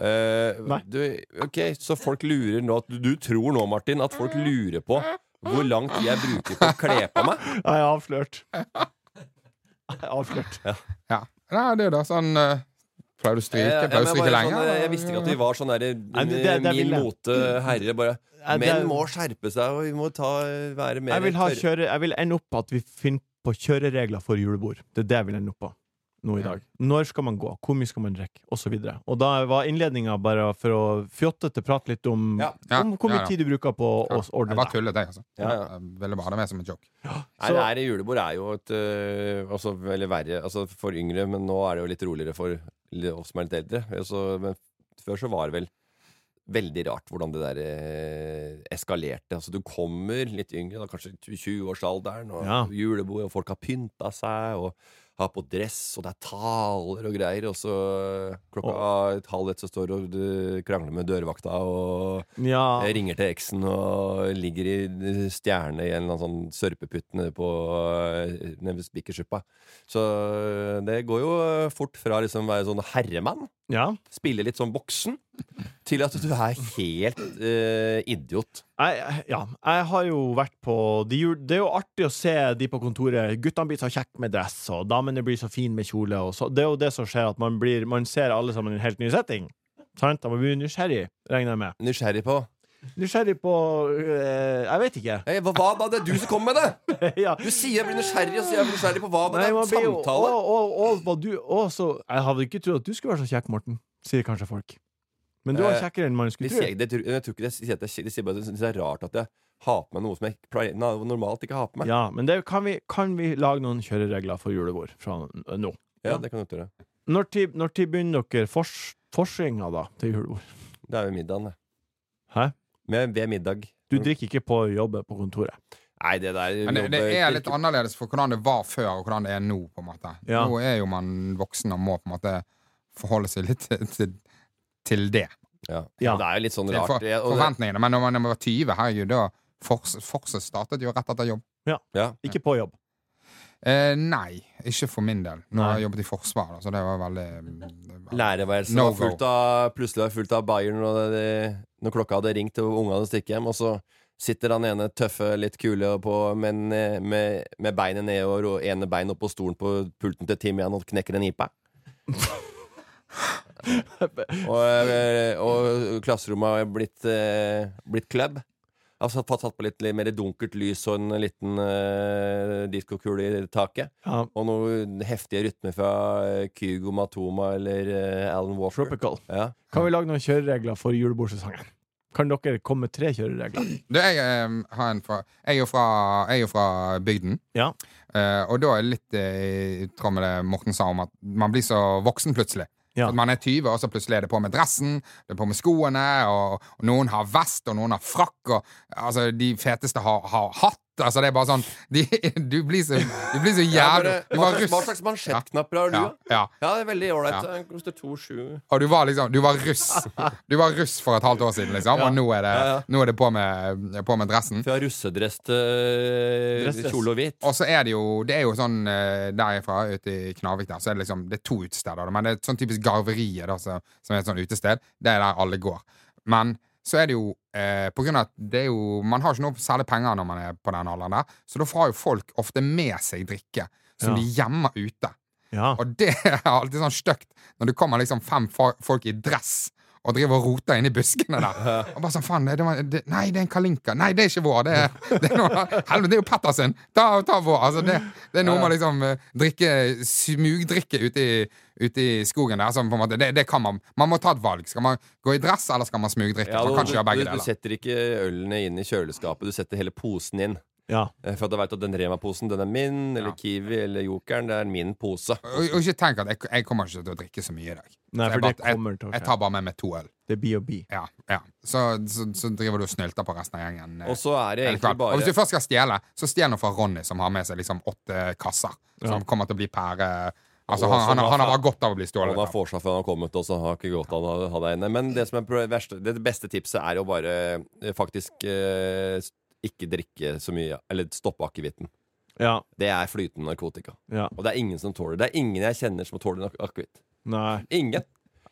C: Eh,
B: Nei.
C: du, ok, så folk lurer nå at, Du tror nå, Martin, at folk lurer på hvor lang tid jeg bruker på å kle på meg?
B: Jeg er avslørt. Jeg er avslørt.
D: ja. Nei, det er jo da sånn eh, Pleier du å
C: Eh,
D: stryke? Pleier
C: jeg,
D: du å
C: må
D: stryke
C: bare
D: lenger?
C: sånn, eh, jeg visste ikke at vi var sånn derre
B: Nei, det- det- det
C: min
B: vil jeg.
C: mote herre. Bare
B: Nei, det-
C: Menn må skjerpe seg, og vi må ta, være mer
B: Jeg vil, ha
C: tørre.
B: kjøre, jeg vil ende opp at vi finner på kjøreregler for julebord. Det er det jeg vil ende opp på nå i dag. Når skal man gå? Hvor mye skal man drikke? Og så videre. Og da var innledninga bare for å fjotte til prate litt om,
C: Ja.
D: Ja.
B: om hvor mye
D: Ja, ja.
B: tid du bruker på å
D: Jeg
B: ordne
D: bare
B: deg.
D: tullet, jeg, altså.
C: Ja, ja.
D: Jeg ville bare ha det med som en joke.
C: Nei, det her i julebord er jo et øh, altså, Eller verre altså, for yngre, men nå er det jo litt roligere for li- oss som er litt eldre. Altså, men før så var det vel veldig rart hvordan det der øh, eskalerte. Altså, du kommer litt yngre, da, kanskje 20-årsalderen, og
B: Ja.
C: julebord, og folk har pynta seg. og har på dress, og det er taler og greier, og så eh, klokka et halv ett så står du og du krangler med dørvakta og
B: Ja.
C: jeg ringer til eksen og ligger i stjerne i en eller annen sånn sørpeputt nede på eh, nede ved spikersuppa. Så eh, det går jo fort fra liksom å være sånn herremann,
B: ja.
C: spille litt sånn voksen, til at du er helt eh, idiot.
B: Jeg, ja, jeg har jo vært på de, jul- Det er jo artig å se de på kontoret. Guttene blir så kjekke med dress, og damene blir så fine med kjole. Og så. Det er jo det som skjer, at man, blir, man ser alle sammen i en helt ny setting. Sant? Da Man blir nysgjerrig, regner jeg med.
C: Nysgjerrig på
B: Nysgjerrig på eh, Jeg vet ikke.
C: hey, hva, hva da? Det er du som kommer med det!
B: ja.
C: Du sier jeg blir nysgjerrig, og så sier jeg blir nysgjerrig på hva? Men
B: Nei,
C: det
B: man
C: er
B: blir jo-
C: samtale.
B: Å, å, å, hva du, å, så, jeg hadde ikke trodd at du skulle være så kjekk, Morten, sier kanskje folk. Men du var
C: Eh,
B: kjekkere enn man
C: De
B: skulle tro.
C: sier, de, tror- jeg tror ikke de sier at jeg, er kjekk. de sier bare at de synes det er rart at jeg har på meg noe som jeg ikke pleier, na- normalt ikke har på meg.
B: Ja, men det kan vi, kan vi lage noen kjøreregler for julebord fra n- nå?
C: Ja,
B: Ja.
C: det kan du gjøre.
B: Når tid, når tid begynner dere fors, forsinga da til julebord?
C: Det er jo middagen, det.
B: Hæ?
C: Med, ved middag.
B: Du drikker ikke på jobbet på kontoret.
C: Nei, det der
D: Men det, det
C: jobber-
D: er litt annerledes for hvordan det var før, og hvordan det er nå. på en måte
B: Ja.
D: Nå er jo man voksen og må på en måte forholde seg litt til, til, til det.
C: Ja.
B: Ja.
C: det er jo litt sånn
D: Til
C: rart.
D: for,
C: Ja, og det-
D: forventningene. Men når man når man var 20, herregud, da Forse forse startet jo rett etter jobb.
C: ja.
B: Ikke på jobb.
D: Eh, nei, ikke for min del. Nå
B: Nei.
D: har jeg jobbet i Forsvaret, så det var veldig mm,
C: Lærerværelset
D: No
C: var fullt av Plutselig var det fullt av Bayern når, det, når klokka hadde ringt og ungene hadde stikket hjem, og så sitter han ene tøffe, litt kule på, men eh, med, med beinet ned og ro- ene bein oppå stolen på pulten til Timian og knekker en ipa. og, eh, og klasserommet har blitt, eh, blitt klubb. Jeg har satt- fått satt på litt, litt mer dunkelt lys og en liten eh, diskokule i taket.
B: Ja,
C: Og noen heftige rytmer fra eh, Kygo Matoma eller eh, Alan Walker.
B: tropical.
C: Ja.
B: Kan vi lage noen kjøreregler for julebordsesongen? Kan dere komme med tre kjøreregler?
D: Du, jeg, eh, har en fra, jeg, er jo fra, jeg er jo fra bygden.
B: Ja.
D: Eh, og da er det litt eh, i tråd med det Morten sa om at man blir så voksen plutselig.
B: Ja.
D: At Man er 20, og så plutselig er det på med dressen, det er på med skoene, og, og noen har vest, og noen har frakk, og altså, de feteste har, har hatt. Altså, det er bare sånn de, Du blir så, du blir så
C: Ja,
D: jævlig
C: bare-
D: Du
C: hva
D: var
C: slags-
D: russ.
C: Hva slags mansjettknapper har
D: Ja,
C: lua?
D: ja.
C: Ja, det er veldig ålreit.
D: Ja.
C: Den koster 2,7.
D: Og du var liksom Du var russ. Du var russ for et halvt år siden, liksom, og nå er det,
C: Ja, ja.
D: Nå er det på, med, på med dressen.
C: Fra russedress til
B: Dress, dress.
C: kjole og hvit.
D: Og så er det jo Det er jo sånn eh, der jeg er fra, ute i Knarvik der, så er det liksom Det er to utesteder, da, men det er et sånn typisk garveriet, da, som, som er et sånn utested. Det er der alle går. Men så er det jo eh, på grunn av at det er jo Man har ikke noe særlig penger når man er på den alderen der, så da har jo folk ofte med seg drikke som
B: Ja.
D: de gjemmer ute.
B: Ja.
D: Og det er alltid sånn stygt når det kommer liksom fem fa- folk i dress og driver og roter inni buskene der. Og bare sånn, faen, det, det var, det, Nei, det er en kalinka. Nei, det er ikke vår. Det er, det er noe, helvete, det er jo Pettersen! Ta, ta vår! Altså, det, det er noe med liksom eh, drikke, smugdrikke ute i, ute i skogen der. Som på en måte, det, det kan man. Man må ta et valg. Skal man gå i dress, eller skal man smugdrikke?
C: Ja,
D: man
C: du,
D: kan ikke gjøre
C: du,
D: begge
C: du
D: deler.
C: setter ikke ølene inn i kjøleskapet, du setter hele posen inn.
B: ja.
C: Eh, For at du veit at den Rema-posen, den er min, eller
D: Ja.
C: Kiwi eller Jokeren, det er min pose.
D: Og, og ikke tenk at jeg, jeg kommer ikke til å drikke så mye i dag.
B: Nei,
D: Så
B: for det
D: jeg, bare-
B: kommer til å
D: jeg, jeg
B: skje.
D: tar bare med meg to øl.
B: Det er B&B.
D: Ja, ja. Så, så, så driver du og snylter på resten av gjengen. eh,
C: Og så er det
D: hele
C: egentlig
D: kvelden. Og hvis
C: bare
D: du først skal stjele, så stjel noe fra Ronny, som har med seg liksom åtte kasser. Som kommer til å bli pære Altså,
C: Og
D: han, han,
C: som
D: han har
C: har-
D: bare godt av å bli stjålet.
C: Han har forsvarsfan han har kommet, og så har ikke godt av å ha deg inne. Men det som er pro- verste, det beste tipset er å bare eh, faktisk eh, ikke drikke så mye, eller stoppe akevitten.
B: Ja.
C: Det er flytende narkotika.
B: Ja.
C: Og det er ingen som tåler det. Det er ingen jeg kjenner som tåler ak- akevitt.
B: Nei.
C: Ingen.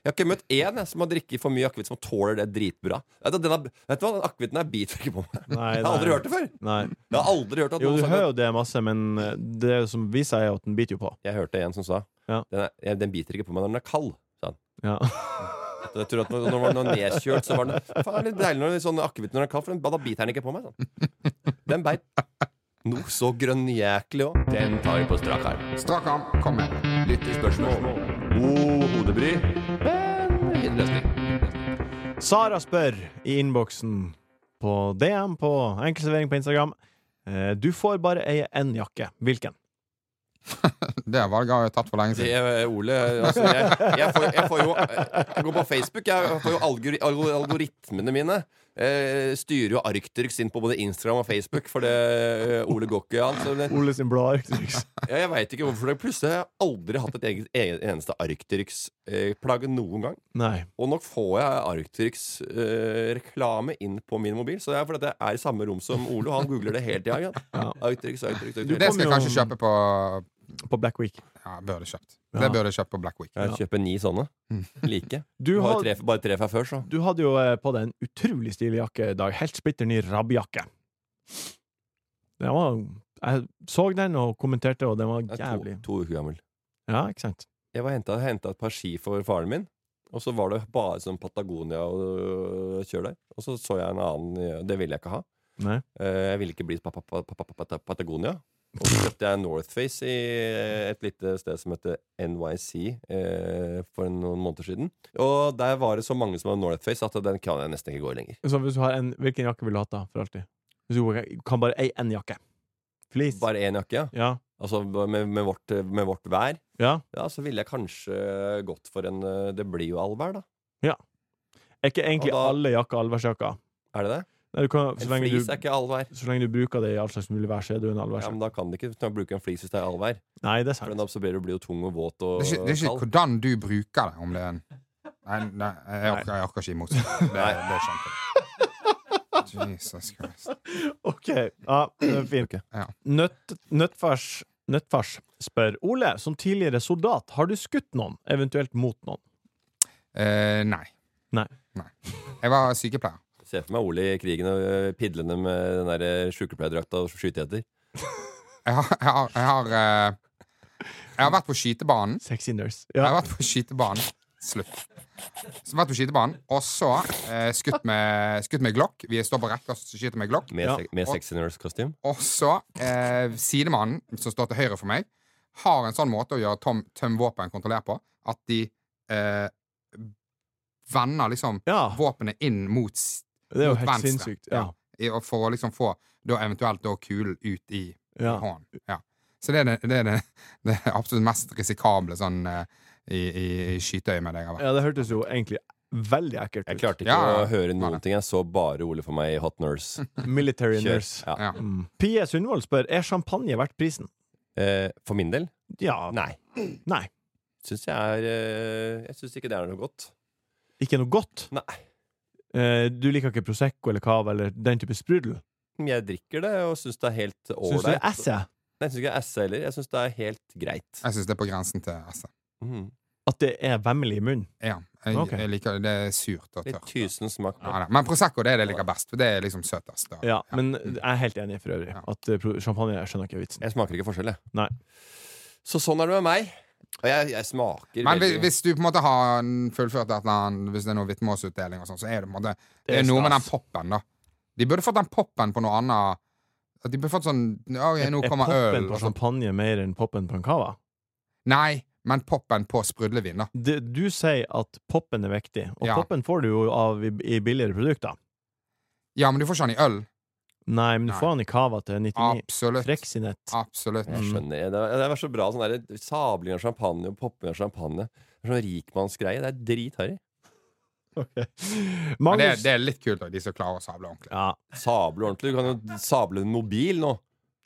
C: Jeg har ikke møtt én jeg, som har drikket for mye akevitt, som tåler det dritbra. Vet du, den er, vet du hva, den akevitten er bit for ikke på meg.
B: Nei,
C: Jeg har aldri hørt det før.
B: Nei.
C: Jeg har aldri hørt at
B: Jo,
C: noen
B: du
C: sa
B: hører jo det masse, men eh, det som viser seg, er jo at den biter jo på.
C: Jeg hørte en som sa
B: Ja.
C: den, er, jeg- den biter ikke på meg når den er kald. sa han.
B: Ja.
C: Så Jeg tror at når, når den var nedkjølt, så var den Faen, det er litt deilig når det er sånn akevitt når den er kald, for den, da biter den ikke på meg. Sånn. Den beit noe så grønnjæklig òg. Den tar vi på strak arm.
D: Strak arm, kom med.
C: Lyttespørsmål. God hodebry. Men fin løsning.
B: Sara spør i innboksen på DM på enkeltservering på Instagram. eh, Du får bare eie én jakke. Hvilken?
D: Det valget har jeg tatt for lenge
C: Det,
D: siden.
C: eh, Ole, altså, jeg, jeg, får, jeg får jo eh, Jeg går på Facebook. Jeg får jo algori, algo- algoritmene mine. Eh, styrer jo Arctrix inn på både Instagram og Facebook, for det eh, Ole går ikke an. Så det,
B: Ole sin blå Arctrix.
C: ja, jeg veit ikke hvorfor det plutselig har jeg aldri hatt et eget, en eneste Arctrix-plagg noen gang.
B: Nei.
C: Og nok får jeg Arctrix-reklame inn på min mobil, så det er fordi at jeg er i samme rom som Ole, og han googler det hele tida. Ja. Arctrix, Arctrix,
B: Du
D: Det
C: Arctrix.
B: kom
D: skal jeg
B: jo-
D: kanskje kjøpe på
B: På Black Week.
D: Ja, burde kjøpt.
B: Ja.
D: Det burde jeg kjøpt på Black Week.
C: Jeg kjøper ni sånne. Like.
B: Du,
C: Bare
B: had,
C: tre, bare tre fra før, så.
B: du hadde jo eh, på deg en utrolig stilig jakke i dag. Helt splitter ny rabbjakke. Den var Jeg så den og kommenterte, og den var
C: Jeg er
B: jævlig
C: to, to uker gammel.
B: Ja, ikke sant?
C: Jeg var henta et par ski for faren min, og så var det bare sånn Patagonia og øh, kjør der. Og så så jeg en annen øh, eh, Det ville jeg ikke ha.
B: Nei.
C: Eh, Jeg ville ikke bli pa- pa- pa- pa- pa- pa- Patagonia. Og så kjøpte jeg Northface i eh, et lite sted som heter NYC eh, for noen måneder siden. Og der var det så mange som hadde Northface at den kan jeg nesten ikke gå i lenger.
B: Så hvis du har en, hvilken jakke vil du ha da, for alltid? Hvis du kan bare ei én jakke. Please.
C: Bare én jakke, ja.
B: Ja.
C: Altså med, med, vårt, med vårt vær.
B: ja.
C: Ja, så ville jeg kanskje gått for en eh, Det blir jo allvær, da.
B: Er ikke egentlig
C: Og da-
B: alle jakker allværsjakker?
C: Er det det?
B: Nei, du kan- Så,
C: En
B: lenge
C: flis
B: du-
C: er ikke allvær.
B: så lenge du bruker det i all slags mulig vær, så er du en
C: Ja,
B: allværsjakke.
C: men da kan det ikke bruke en flis hvis det er allvær.
B: Nei, det er
C: For
B: sant.
C: den absorberer og blir jo tung og våt og
D: Det er ikke, det er ikke
C: kald.
D: hvordan du bruker det, om det er en Nei, nei jeg, orker, jeg orker ikke imot. Det, det skjønte jeg. Jesus Christ.
B: Ok, ja, det er fint.
C: Ok.
D: Ja.
B: Nøtt, nøttfars, nøttfars spør Ole, som tidligere soldat, har du skutt noen, eventuelt mot noen?
D: Eh, nei.
B: Nei.
D: Jeg var sykepleier.
C: Se for meg Ole i krigen og øh, pidlende med den der eh, sykepleierdrakta og skyte etter.
D: Jeg har, jeg har, jeg har, eh, jeg har vært på skytebanen.
B: Sexy nurse.
D: Jeg har
B: Ja.
D: vært på skytebanen. Slutt. Så jeg har vært på skytebanen, og så eh, skutt, med, skutt med Glock. Vi står på rekke og skyter med Glock.
C: Med,
B: Ja.
C: se med sexy nurse-kostyme.
D: Og så eh, sidemannen som står til høyre for meg, har en sånn måte å gjøre tom, tøm våpen kontrollert på, at de eh, vender liksom
B: Ja.
D: våpenet inn mot, s-
B: Det er jo
D: mot
B: helt
D: venstre.
B: sinnssykt. Ja.
D: I- og For å liksom få da eventuelt da kulen ut i
B: Ja.
D: hånden. Ja. Så det er det, det, er det, det er det absolutt mest risikable sånn eh, i, i, i skyteøyemed jeg har vært.
B: ja, det hørtes jo egentlig veldig ekkelt
C: Jeg
B: ut.
C: klarte ikke
D: Ja, ja.
C: å høre
D: Nei.
C: noen ting. Jeg så bare Ole for meg i Hot Nurse.
B: Military
C: Kjør.
B: nurse.
C: Ja.
D: Ja.
B: Mm. Pia Sundvold spør er champagne verdt prisen.
C: Eh, for min del?
B: Ja,
C: Nei.
B: nei.
C: Syns jeg er eh, Jeg syns ikke det er noe godt.
B: Ikke noe godt.
C: Nei.
B: Eh, Du liker ikke Prosecco eller Cava eller den type sprudel?
C: Men Jeg drikker det og syns det er helt ålreit.
B: Syns du det er esse?
C: Nei, jeg syns ikke det er esse heller. Jeg syns det er helt greit.
D: Jeg syns det er på grensen til esse.
C: Mhm.
B: At det er vemmelig i munnen?
D: Ja, jeg,
B: Ok.
D: jeg liker det. Det er surt og
C: Litt
D: tørt.
C: tysen smak.
D: Ja, da. men Prosecco det er det jeg liker best, for det er liksom søtest. da.
B: Ja, men jeg er helt enig for øvrig.
D: Ja.
B: At eh, pro- champagne jeg skjønner ikke vitsen.
C: Jeg smaker ikke forskjell, jeg.
B: Nei.
C: Så sånn er det med meg. Og jeg, jeg smaker
D: Men hvis,
C: veldig-
D: hvis du på en måte har en fullført et eller annet, hvis det er noe vitnemålsutdeling og sånn, så er det på en måte Det er noe med den
B: stas.
D: poppen, da. De burde fått den poppen på noe annet. At de burde fått sånn ja, Nå
B: Er
D: kommer
B: poppen
D: øl.
B: på
D: og sånn.
B: champagne mer enn poppen på en cava?
D: Nei, men poppen på sprudlevin, da.
B: Det- Du sier at poppen er viktig, og
D: Ja.
B: poppen får du jo av i, i billigere produkter.
D: Ja, men du får ikke den i øl.
B: Nei, men du
D: Nei.
B: får den i cava til 99.
D: Absolutt.
B: Treksinett.
D: Absolutt.
C: Jeg skjønner. Det var, det var så bra sånn der sabling av champagne og popping av champagne. Det er Sånn rikmannsgreie. Det er dritharry.
D: Men det,
B: Magnus
D: det er litt kult, da, de som klarer å sable ordentlig.
B: Ja,
C: Sable ordentlig. Du kan jo sable en mobil nå.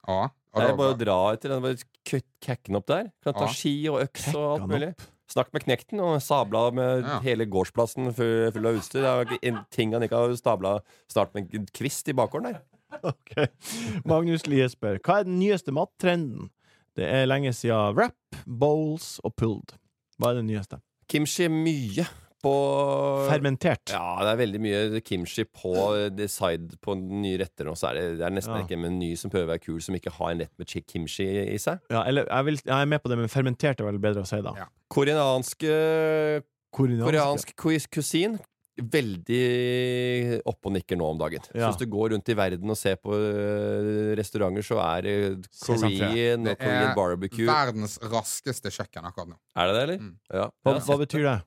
D: Ja, og
C: Det er
D: da,
C: bare å dra etter den. Bare kutt kekken opp der. Kan ta
D: Ja.
C: ski og øks og
B: Kekken
C: alt mulig. Snakk med knekten og sabla med
D: Ja.
C: hele gårdsplassen full, full av utstyr. Det er jo ikke en ting han ikke har stabla snart med en kvist i bakgården der.
B: ok. Magnus Lie spør hva er den nyeste mattrenden. Det er lenge siden wrap, bowls og pulled. Hva er det nyeste?
C: Kimchi mye på
B: Fermentert.
C: Ja, det er veldig mye kimchi på the side på nye retter nå. Så er det, det er nesten
B: Ja.
C: ikke en meny som prøver å være kul, som ikke har en rett med chi- kimchi i seg.
B: Ja, eller jeg, vil, jeg er med på det, men fermentert er vel bedre å si, da.
D: Ja.
C: Koreansk, eh,
B: Koreansk.
C: koreansk kuis- kusin. Veldig oppe og nikker nå om dagen.
B: Ja.
C: Så hvis du går rundt i verden og ser på eh, restauranter, så er det
B: Sesam frø.
C: Korean og
D: det
C: Korean barbecue.
D: verdens raskeste kjøkken akkurat nå.
C: Er det det, eller? Ja.
B: Mm. Hva,
C: Ja.
B: hva betyr det?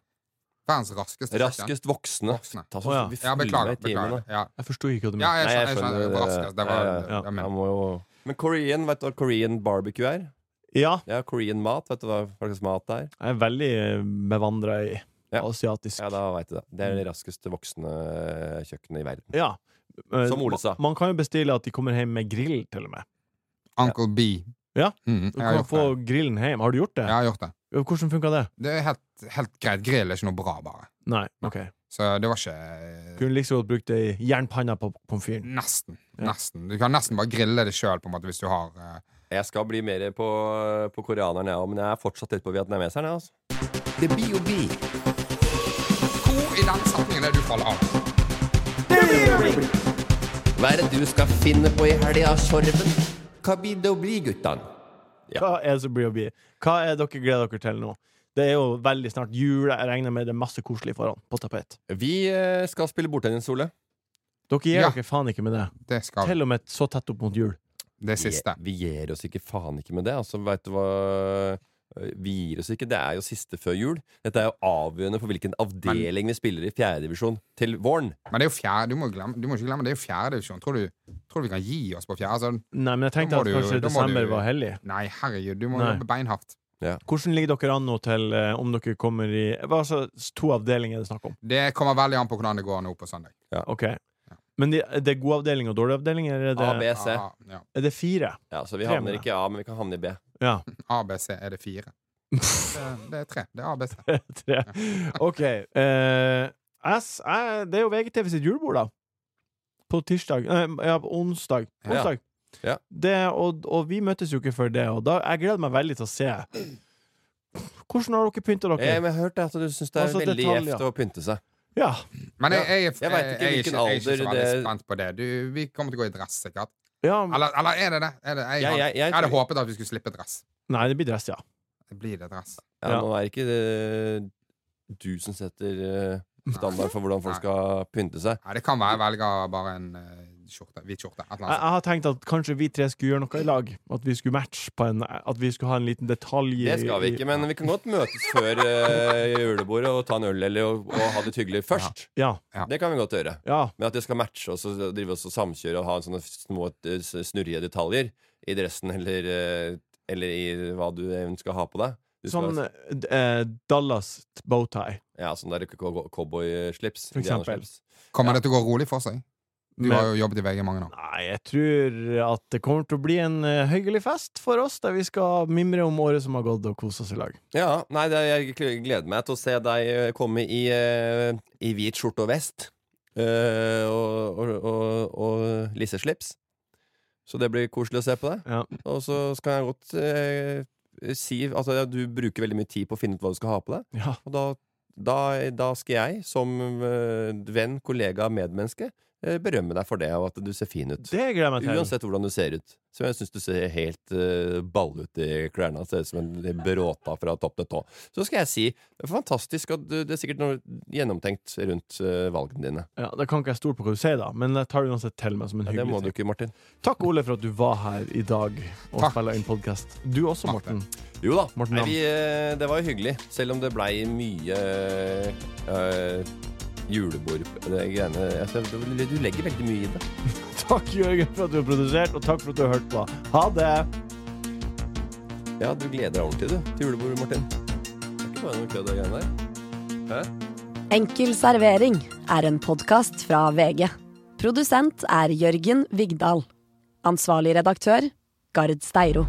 D: Verdens raskeste kjøkken.
C: Raskest voksne.
D: Voksne.
C: Ta
B: Å, ja.
C: vi
D: Ja,
C: følger
D: beklager.
C: med i timen,
D: beklager.
C: da.
D: Ja,
B: Jeg forsto ikke hva du
D: ja
B: mente.
D: jeg,
C: Nei,
D: skjønner- jeg skjønner. Det var raskest. Det var
C: Ja, ja,
B: ja.
D: jeg mener.
C: Jeg må jo... Men Korean, vet du hva Korean barbecue er?
B: Ja,
C: Ja, Korean mat. Vet du hva slags mat det er?
B: jeg er veldig bevandra i
C: Ja.
B: asiatisk.
C: Ja, da veit du det. Det er det raskeste voksne kjøkkenet i verden.
B: Ja. Eh,
C: Som Ole sa.
B: Man kan jo bestille at de kommer hjem med grill, til og med.
D: Uncle B.
B: Ja.
D: Mm,
B: Du
D: jeg, har
B: kan
D: gjort
B: få
D: det.
B: grillen hjem. Har du gjort det?
D: jeg har gjort det.
B: Hvordan funka det?
D: Det er helt, helt greit. Grill er ikke noe bra, bare.
B: Nei, ok.
D: Så det var ikke eh,
B: Kunne like så godt brukt det i jernpanna på pommes fyren.
D: Nesten.
B: Ja.
D: Nesten. Du kan nesten bare grille det sjøl, på en måte, hvis du har eh,
C: Jeg skal bli mer på, på koreaneren, jeg òg, men jeg er fortsatt litt på vietnameseren. Jeg, altså.
F: Det blir jo bi.
D: Hvor i den setningen er det du faller av?
F: Hva er det du skal finne på i helga, Sorven? Hva blir det å bli, guttan?
B: Hva er det som blir å bli? Hva er dere gleder dere til nå? Det er jo veldig snart jul. Jeg regner med det er masse koselig foran på tapet.
C: Vi eh, skal spille bordtennis, Ole.
B: Dere gir
D: Ja.
B: dere faen ikke med det.
D: Det skal vi.
B: Til og med så tett opp mot jul.
D: Det siste.
C: Vi gir oss ikke faen ikke med det. Altså, vet du hva Øh, Vi gir oss ikke. Det er jo siste før jul. Dette er jo avgjørende for hvilken avdeling vi spiller i fjerdedivisjon til våren.
D: Men det er jo fjerde, du må, glemme, du må ikke glemme, det er jo fjerde divisjon. Tror, du- tror du vi kan gi oss på fjerde? Altså,
B: Nei, men jeg
D: Da
B: tenkte
D: må
B: at
D: du-
B: kanskje
D: da må
B: desember
D: du-
B: var hellig.
D: nei, herregud, du må
B: Nei.
D: jobbe beinhardt.
B: Hvordan ligger dere an nå til eh, om dere kommer i Hva altså to avdelinger er det snakk om?
D: Det kommer veldig an på hvordan det går nå på søndag.
B: Ok. Men de, det er god avdeling og dårlig avdeling? Eller er
C: A, B,
B: det,
C: C.
D: Ah, ja.
B: er det fire?
C: Ja, så vi
B: Tre
C: havner
B: med
C: ikke i A, men vi kan havne i B.
B: Ja.
D: ABC er det fire. Det, det er tre. Det er ABC.
B: Tre. OK. eh, S, eh, det er jo VGTV sitt julebord, da. På tirsdag Nei, ja, på onsdag.
C: Ja.
B: onsdag.
C: Ja.
B: Det, og, og vi møtes jo ikke før det, og da, jeg gleder meg veldig til å se. Hvordan har dere pynta
C: Eh,
B: dere?
C: men jeg har hørt at du syns det er
B: Altså,
C: veldig
B: detaljer.
C: gjevt å pynte seg.
B: Ja.
D: Men jeg,
C: Ja,
D: jeg, jeg,
C: jeg
D: jeg
C: vet ikke
D: er
C: hvilken
D: jeg er ikke så
C: alder
D: veldig
C: det-
D: spent på det. Du, vi kommer til å gå i dress, sikkert.
B: ja.
D: Eller, eller er det det? Er det jeg,
C: Ja,
D: hadde- jeg,
C: jeg- jeg tror-
D: hadde håpet at vi skulle slippe dress.
B: Nei, det blir dress, ja.
D: Blir det dress?
C: Ja,
B: Ja.
C: Nå er det ikke eh, du som setter eh, standard for hvordan folk
D: Nei.
C: skal pynte seg.
D: Nei, det kan være jeg velger bare en eh, skjorte. Hvit skjorte. Et eller
B: Jeg,
D: annet.
C: Altså.
B: jeg har tenkt at kanskje vi tre skulle gjøre noe i lag. At vi skulle matche på en At vi skulle ha en liten detalj i
C: Det skal vi ikke, men vi kan godt møtes før eh, julebordet og ta en øl eller og, og ha det hyggelig først.
B: Ja.
D: Ja.
C: Det kan vi godt gjøre.
B: ja.
C: Men at det skal matche oss og drive oss og samkjøre og ha sånne små eh, s- snurrige detaljer i dressen eller, eh, eller i hva du even skal ha på deg. Du skal,
B: Sånn eh, Dallas bowtie.
C: ja, sånn der co- co- cowboyslips.
B: eh, For eksempel.
C: indianerslips.
D: Kommer det til å gå rolig for seg? Du
B: Men-
D: har jo jobbet i VG i mange år.
B: Nei, jeg tror at det kommer til å bli en eh, hyggelig fest for oss, der vi skal mimre om året som har gått, og kose oss i lag.
C: Ja, nei, det, jeg gl- gleder meg til å se deg eh, komme i, eh, i hvit skjorte og vest. eh, og, og, og, og lisseslips. Så det blir koselig å se på deg.
B: Ja.
C: Og så skal jeg godt eh, si Altså, ja, du bruker veldig mye tid på å finne ut hva du skal ha på deg.
B: Ja.
C: Og da, da, da skal jeg, som eh, venn, kollega, medmenneske, eh, berømme deg for det, og at du ser fin ut.
B: Det gleder jeg meg til.
C: Uansett hvordan du ser ut. Så jeg syns du ser helt uh, balle ut i klærne. Ser ut som en bråta fra topp til tå. Så skal jeg si fantastisk, og du- det er sikkert noe gjennomtenkt rundt eh, valgene dine.
B: Ja, da kan ikke jeg stole på hva du sier, da, men jeg tar det uansett til meg som en
C: Ja, det må
B: hyggelig ting.
C: du ikke, Martin.
B: Takk, Ole, for at du var her i dag og
D: Takk.
B: spilla inn podkast. Du også,
D: Takk,
B: Morten.
C: Jo da.
B: Morten
C: Nei,
B: Ramm.
C: vi, eh, det var jo hyggelig, selv om det blei mye eh, julebord det greiene. Altså, du, du legger veldig mye i det.
B: Takk, Jørgen, for at du har produsert, og takk for at du har hørt på. Ha det!
C: Ja, du gleder deg ordentlig, du, til julebordet, Martin. Det er ikke bare noe kødd, det greiene der. Hæ?
A: Enkel servering er en podkast fra VG. Produsent er Jørgen Vigdal. Ansvarlig redaktør Gard Steiro.